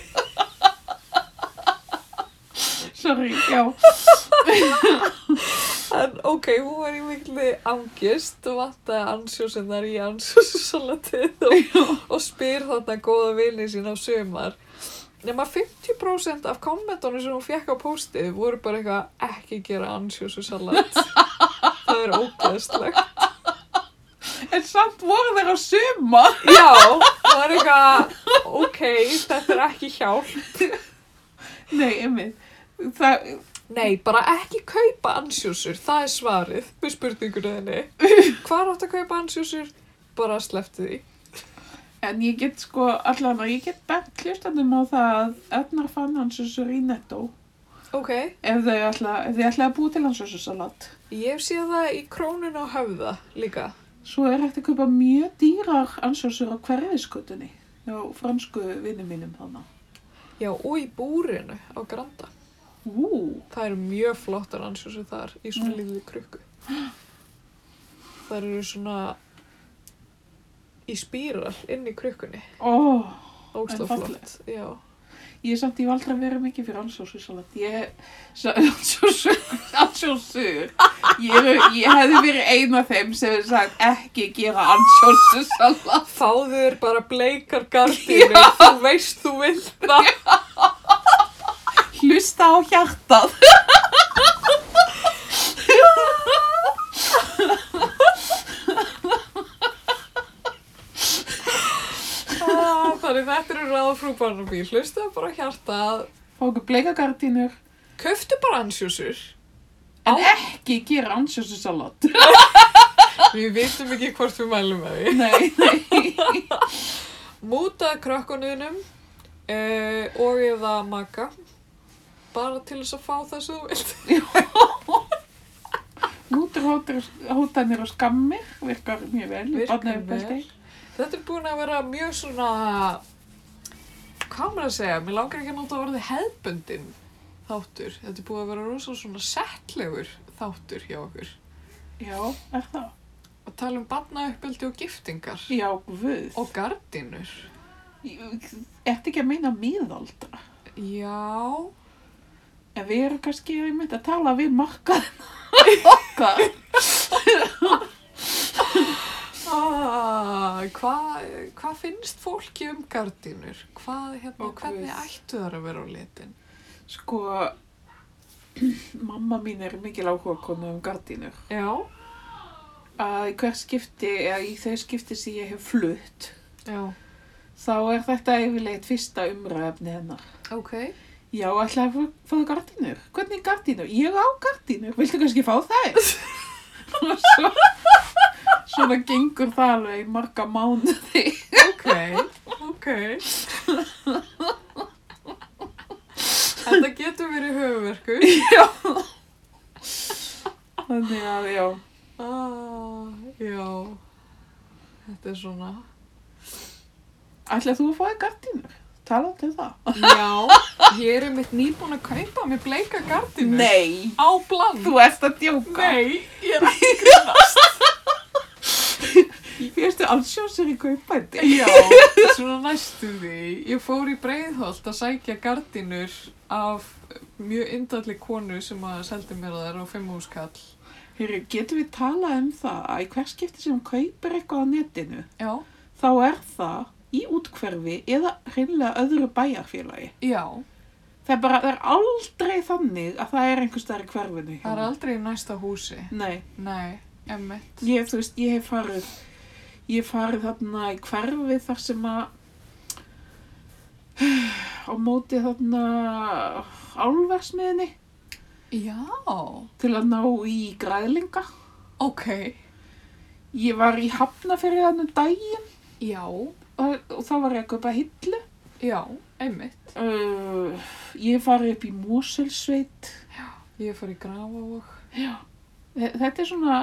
Speaker 1: Sorry, já.
Speaker 2: En ok, hún var í miklu angist og vantaði ansjósinnar í ansjósalatið og, og spyr þarna góða vini sín á sömar. Nefna 50% af kommentunum sem hún fekk á póstið voru bara eitthvað ekki gera ansjósalat. Það er ógeðslegt.
Speaker 1: En samt voru þeir á suma.
Speaker 2: Já, það var eitthvað, ok, þetta er ekki hjálp.
Speaker 1: Nei, einmitt. Það,
Speaker 2: Nei, bara ekki kaupa ansjósur, það er svarið við spurningunni henni. Hvar átt að kaupa ansjósur? Bara sleppti því.
Speaker 1: en ég get sko, allan að ég get bent hlustandum á það að öðnar fann ansjósur í netto.
Speaker 2: Ok,
Speaker 1: Ef þau ætla, ef þau ætla að búa til ansjósusalat.
Speaker 2: Ég sé það í krónun á höfða líka.
Speaker 1: Svo er hægt að kaupa mjög dýrar ansjósur á hverfiskutunni. Já, fransku vinnum mínum þannig.
Speaker 2: Já, og í búrinu á Granda.
Speaker 1: Ú,
Speaker 2: Það eru mjög flottar ansjósu þar í svona
Speaker 1: Mm.
Speaker 2: lítið krukku. Það eru svona í spíral inn í krukkunni.
Speaker 1: ó,
Speaker 2: Ósla
Speaker 1: En
Speaker 2: flott. Já.
Speaker 1: ég er samt, ég var aldrei að vera mikið fyrir ansjósusalat. Ég, sa- ansjósur, ansjósur. Ég, er- ég hefði verið einu af þeim sem hefði sagt ekki gera ansjósusalat.
Speaker 2: Fáðu þér bara bleikar gardinu, þú veist þú vilt það.
Speaker 1: Hlusta á hjartað.
Speaker 2: Ah, Þannig þetta eru ráða frú Barnaby. Hlustaðu bara á hjartað.
Speaker 1: Fá okkur bleikagardínur.
Speaker 2: Kauftu bara ansjósur.
Speaker 1: En
Speaker 2: Á.
Speaker 1: ekki gera ansjósusalat.
Speaker 2: Við vitum ekki hvort við mælum að því.
Speaker 1: Nei, nei.
Speaker 2: múta krakkonunum uh, og eða maka bara til þess að fá það sem þú vilt
Speaker 1: Nútur hótar- hótanir og skammir virkar mjög vel. í
Speaker 2: Virkar
Speaker 1: barnauppeldi.
Speaker 2: vel. þetta er búin að vera mjög svona hvað maður að segja mér langar ekki að nota að verði hefbundin þáttur, þetta er búin að vera rosa svona settlegur þáttur hjá okkur
Speaker 1: Já, er það?
Speaker 2: að tala um barnauppeldi og giftingar
Speaker 1: Já, guð.
Speaker 2: og gardinur
Speaker 1: Ertu ekki að meina miðaldra?
Speaker 2: já,
Speaker 1: En við erum kannski einmitt að tala við markaðina okkar.
Speaker 2: Ah, hvað hva finnst fólki um gardínur? Hvað, hérna,
Speaker 1: Ó, Guð.
Speaker 2: hvernig ættu þar að vera á litin?
Speaker 1: Sko, mamma mín er mikil áhuga konu um gardínur.
Speaker 2: Já,
Speaker 1: Að í hver skipti, eða í þau skipti sem ég hef flutt,
Speaker 2: já,
Speaker 1: þá er þetta yfirleitt fyrsta umræðefni hennar.
Speaker 2: ok.
Speaker 1: Já, ætlaði að fá- fá gardínur. Hvernig gardínur? Ég á gardínur. Viltu kannski fá þær? Og svo, svona gengur það alveg í marga mánuði.
Speaker 2: Ok, ok. Þetta getur verið höfuverkur.
Speaker 1: Þannig að, já,
Speaker 2: Ah, já, þetta er svona...
Speaker 1: ætlaði þú að fá þér gardínur? Talaðu um það?
Speaker 2: Já, ég er einmitt nýbúin að kaupa mér bleika gardínur.
Speaker 1: Nei,
Speaker 2: Á bland.
Speaker 1: þú ert að djóka.
Speaker 2: Nei, ég er ekki.
Speaker 1: Ég ertu allsjósir í kaupæti.
Speaker 2: Já, svona næstu því. Ég fór í Breiðholt að sækja gardinur af mjög indalli konu sem að seldi mér þær á fimmhúskall.
Speaker 1: Heyrðu, getum við talað um það að í hver skipti sem hún kaupir eitthvað á netinu,
Speaker 2: Já,
Speaker 1: þá er það í útkverfi eða hreinlega öðru bæjarfélagi.
Speaker 2: já,
Speaker 1: Það er bara, það er aldrei þannig að það er einhvers staðar í hverfinu. hjá
Speaker 2: það er
Speaker 1: mér.
Speaker 2: aldrei í næsta húsi.
Speaker 1: Nei,
Speaker 2: Nei, emmitt.
Speaker 1: ég, þú veist, ég hef farið, ég hef farið þarna í hverfi þar sem að á móti þarna álversmiðinni
Speaker 2: Já,
Speaker 1: til að ná í græðlinga.
Speaker 2: ok,
Speaker 1: Ég var í hafna fyrir þannig daginn
Speaker 2: já,
Speaker 1: og, og þá var ég að kaupa hillu.
Speaker 2: já, emmitt.
Speaker 1: Uh, ég hef farið upp í Moselsveit.
Speaker 2: Ég fór í Grafavog.
Speaker 1: Þe- Þetta er svona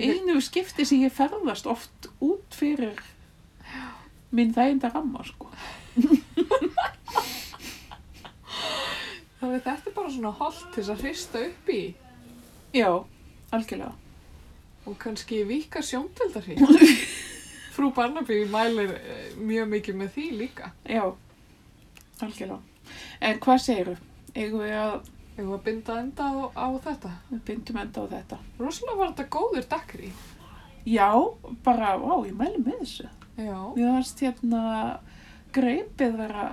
Speaker 2: Ég-
Speaker 1: einu skipti sem ég ferðast oft út fyrir minn þæginda ramma, sko.
Speaker 2: Þannig að þetta er bara svona holt til þess að hrista upp í
Speaker 1: Já, algjörlega.
Speaker 2: og kannski vika sjóndeldarhýr. Frú Barnaby mælir eh, mjög mikið með því líka.
Speaker 1: Já, algjörlega. En hvað segiru? Eigum við að
Speaker 2: Ég var að binda enda á, á þetta.
Speaker 1: við bindum enda á þetta?
Speaker 2: Rosalega var þetta góður dagri.
Speaker 1: Já, bara, vá, ég mæli með þessu.
Speaker 2: Já,
Speaker 1: Mér varst hérna greipið vera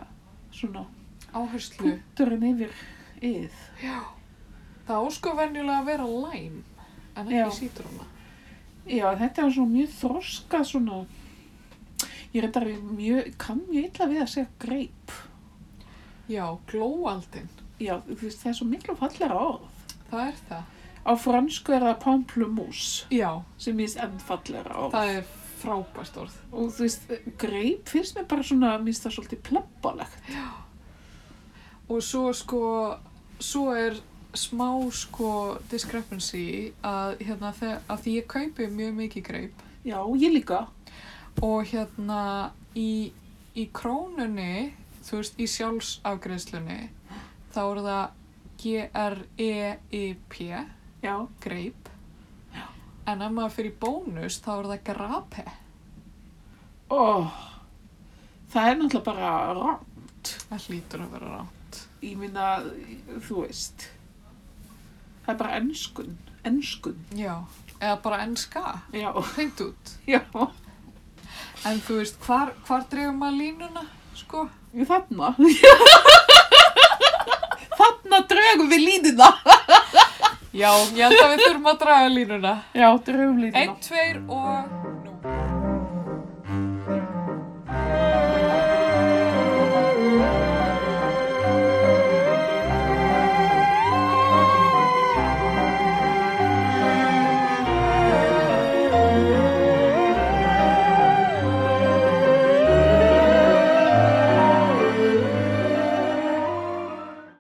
Speaker 1: svona
Speaker 2: áherslu.
Speaker 1: punkturinn yfir yð.
Speaker 2: Já. Það ásko venjulega að vera læm, en
Speaker 1: Já.
Speaker 2: ekki sítróna.
Speaker 1: Já, þetta er svona mjög þroskað svona, ég reyndar ég mjög, kann mjög illa við að segja greip.
Speaker 2: Já, glóaldin.
Speaker 1: Já, þú veist, það er svo miklu fallera orð.
Speaker 2: Það er það.
Speaker 1: Á fransku er það pamplemousse,
Speaker 2: Já,
Speaker 1: sem ég enn fallera orð.
Speaker 2: það er frábært orð.
Speaker 1: Og þú veist, greip finnst mér bara svona, minnst það svolítið plebbalegt.
Speaker 2: Og svo sko, svo er smá sko discrepancy að, hérna, þe- að því ég kaupi mjög mikið greip
Speaker 1: Já, ég líka.
Speaker 2: og hérna í, í krónunni þú veist, í sjálfsafgreðslunni þá er það G-R-E-I-P
Speaker 1: Já,
Speaker 2: greip en ef maður fyrir bónus þá er það grape
Speaker 1: ó, Oh. það er náttúrulega bara rámt.
Speaker 2: það hlýtur að vera rátt
Speaker 1: Ég minna, þú veist, það er bara enskun, enskun.
Speaker 2: já, eða bara enska
Speaker 1: Já,
Speaker 2: hreint út
Speaker 1: já,
Speaker 2: en þú veist, hvar, hvar dreifum maður línuna sko,
Speaker 1: við þarna. þarna drögum við línuna.
Speaker 2: já, ég held að við þurfum að draga línuna
Speaker 1: Já, drögum línuna.
Speaker 2: einn, tveir og nú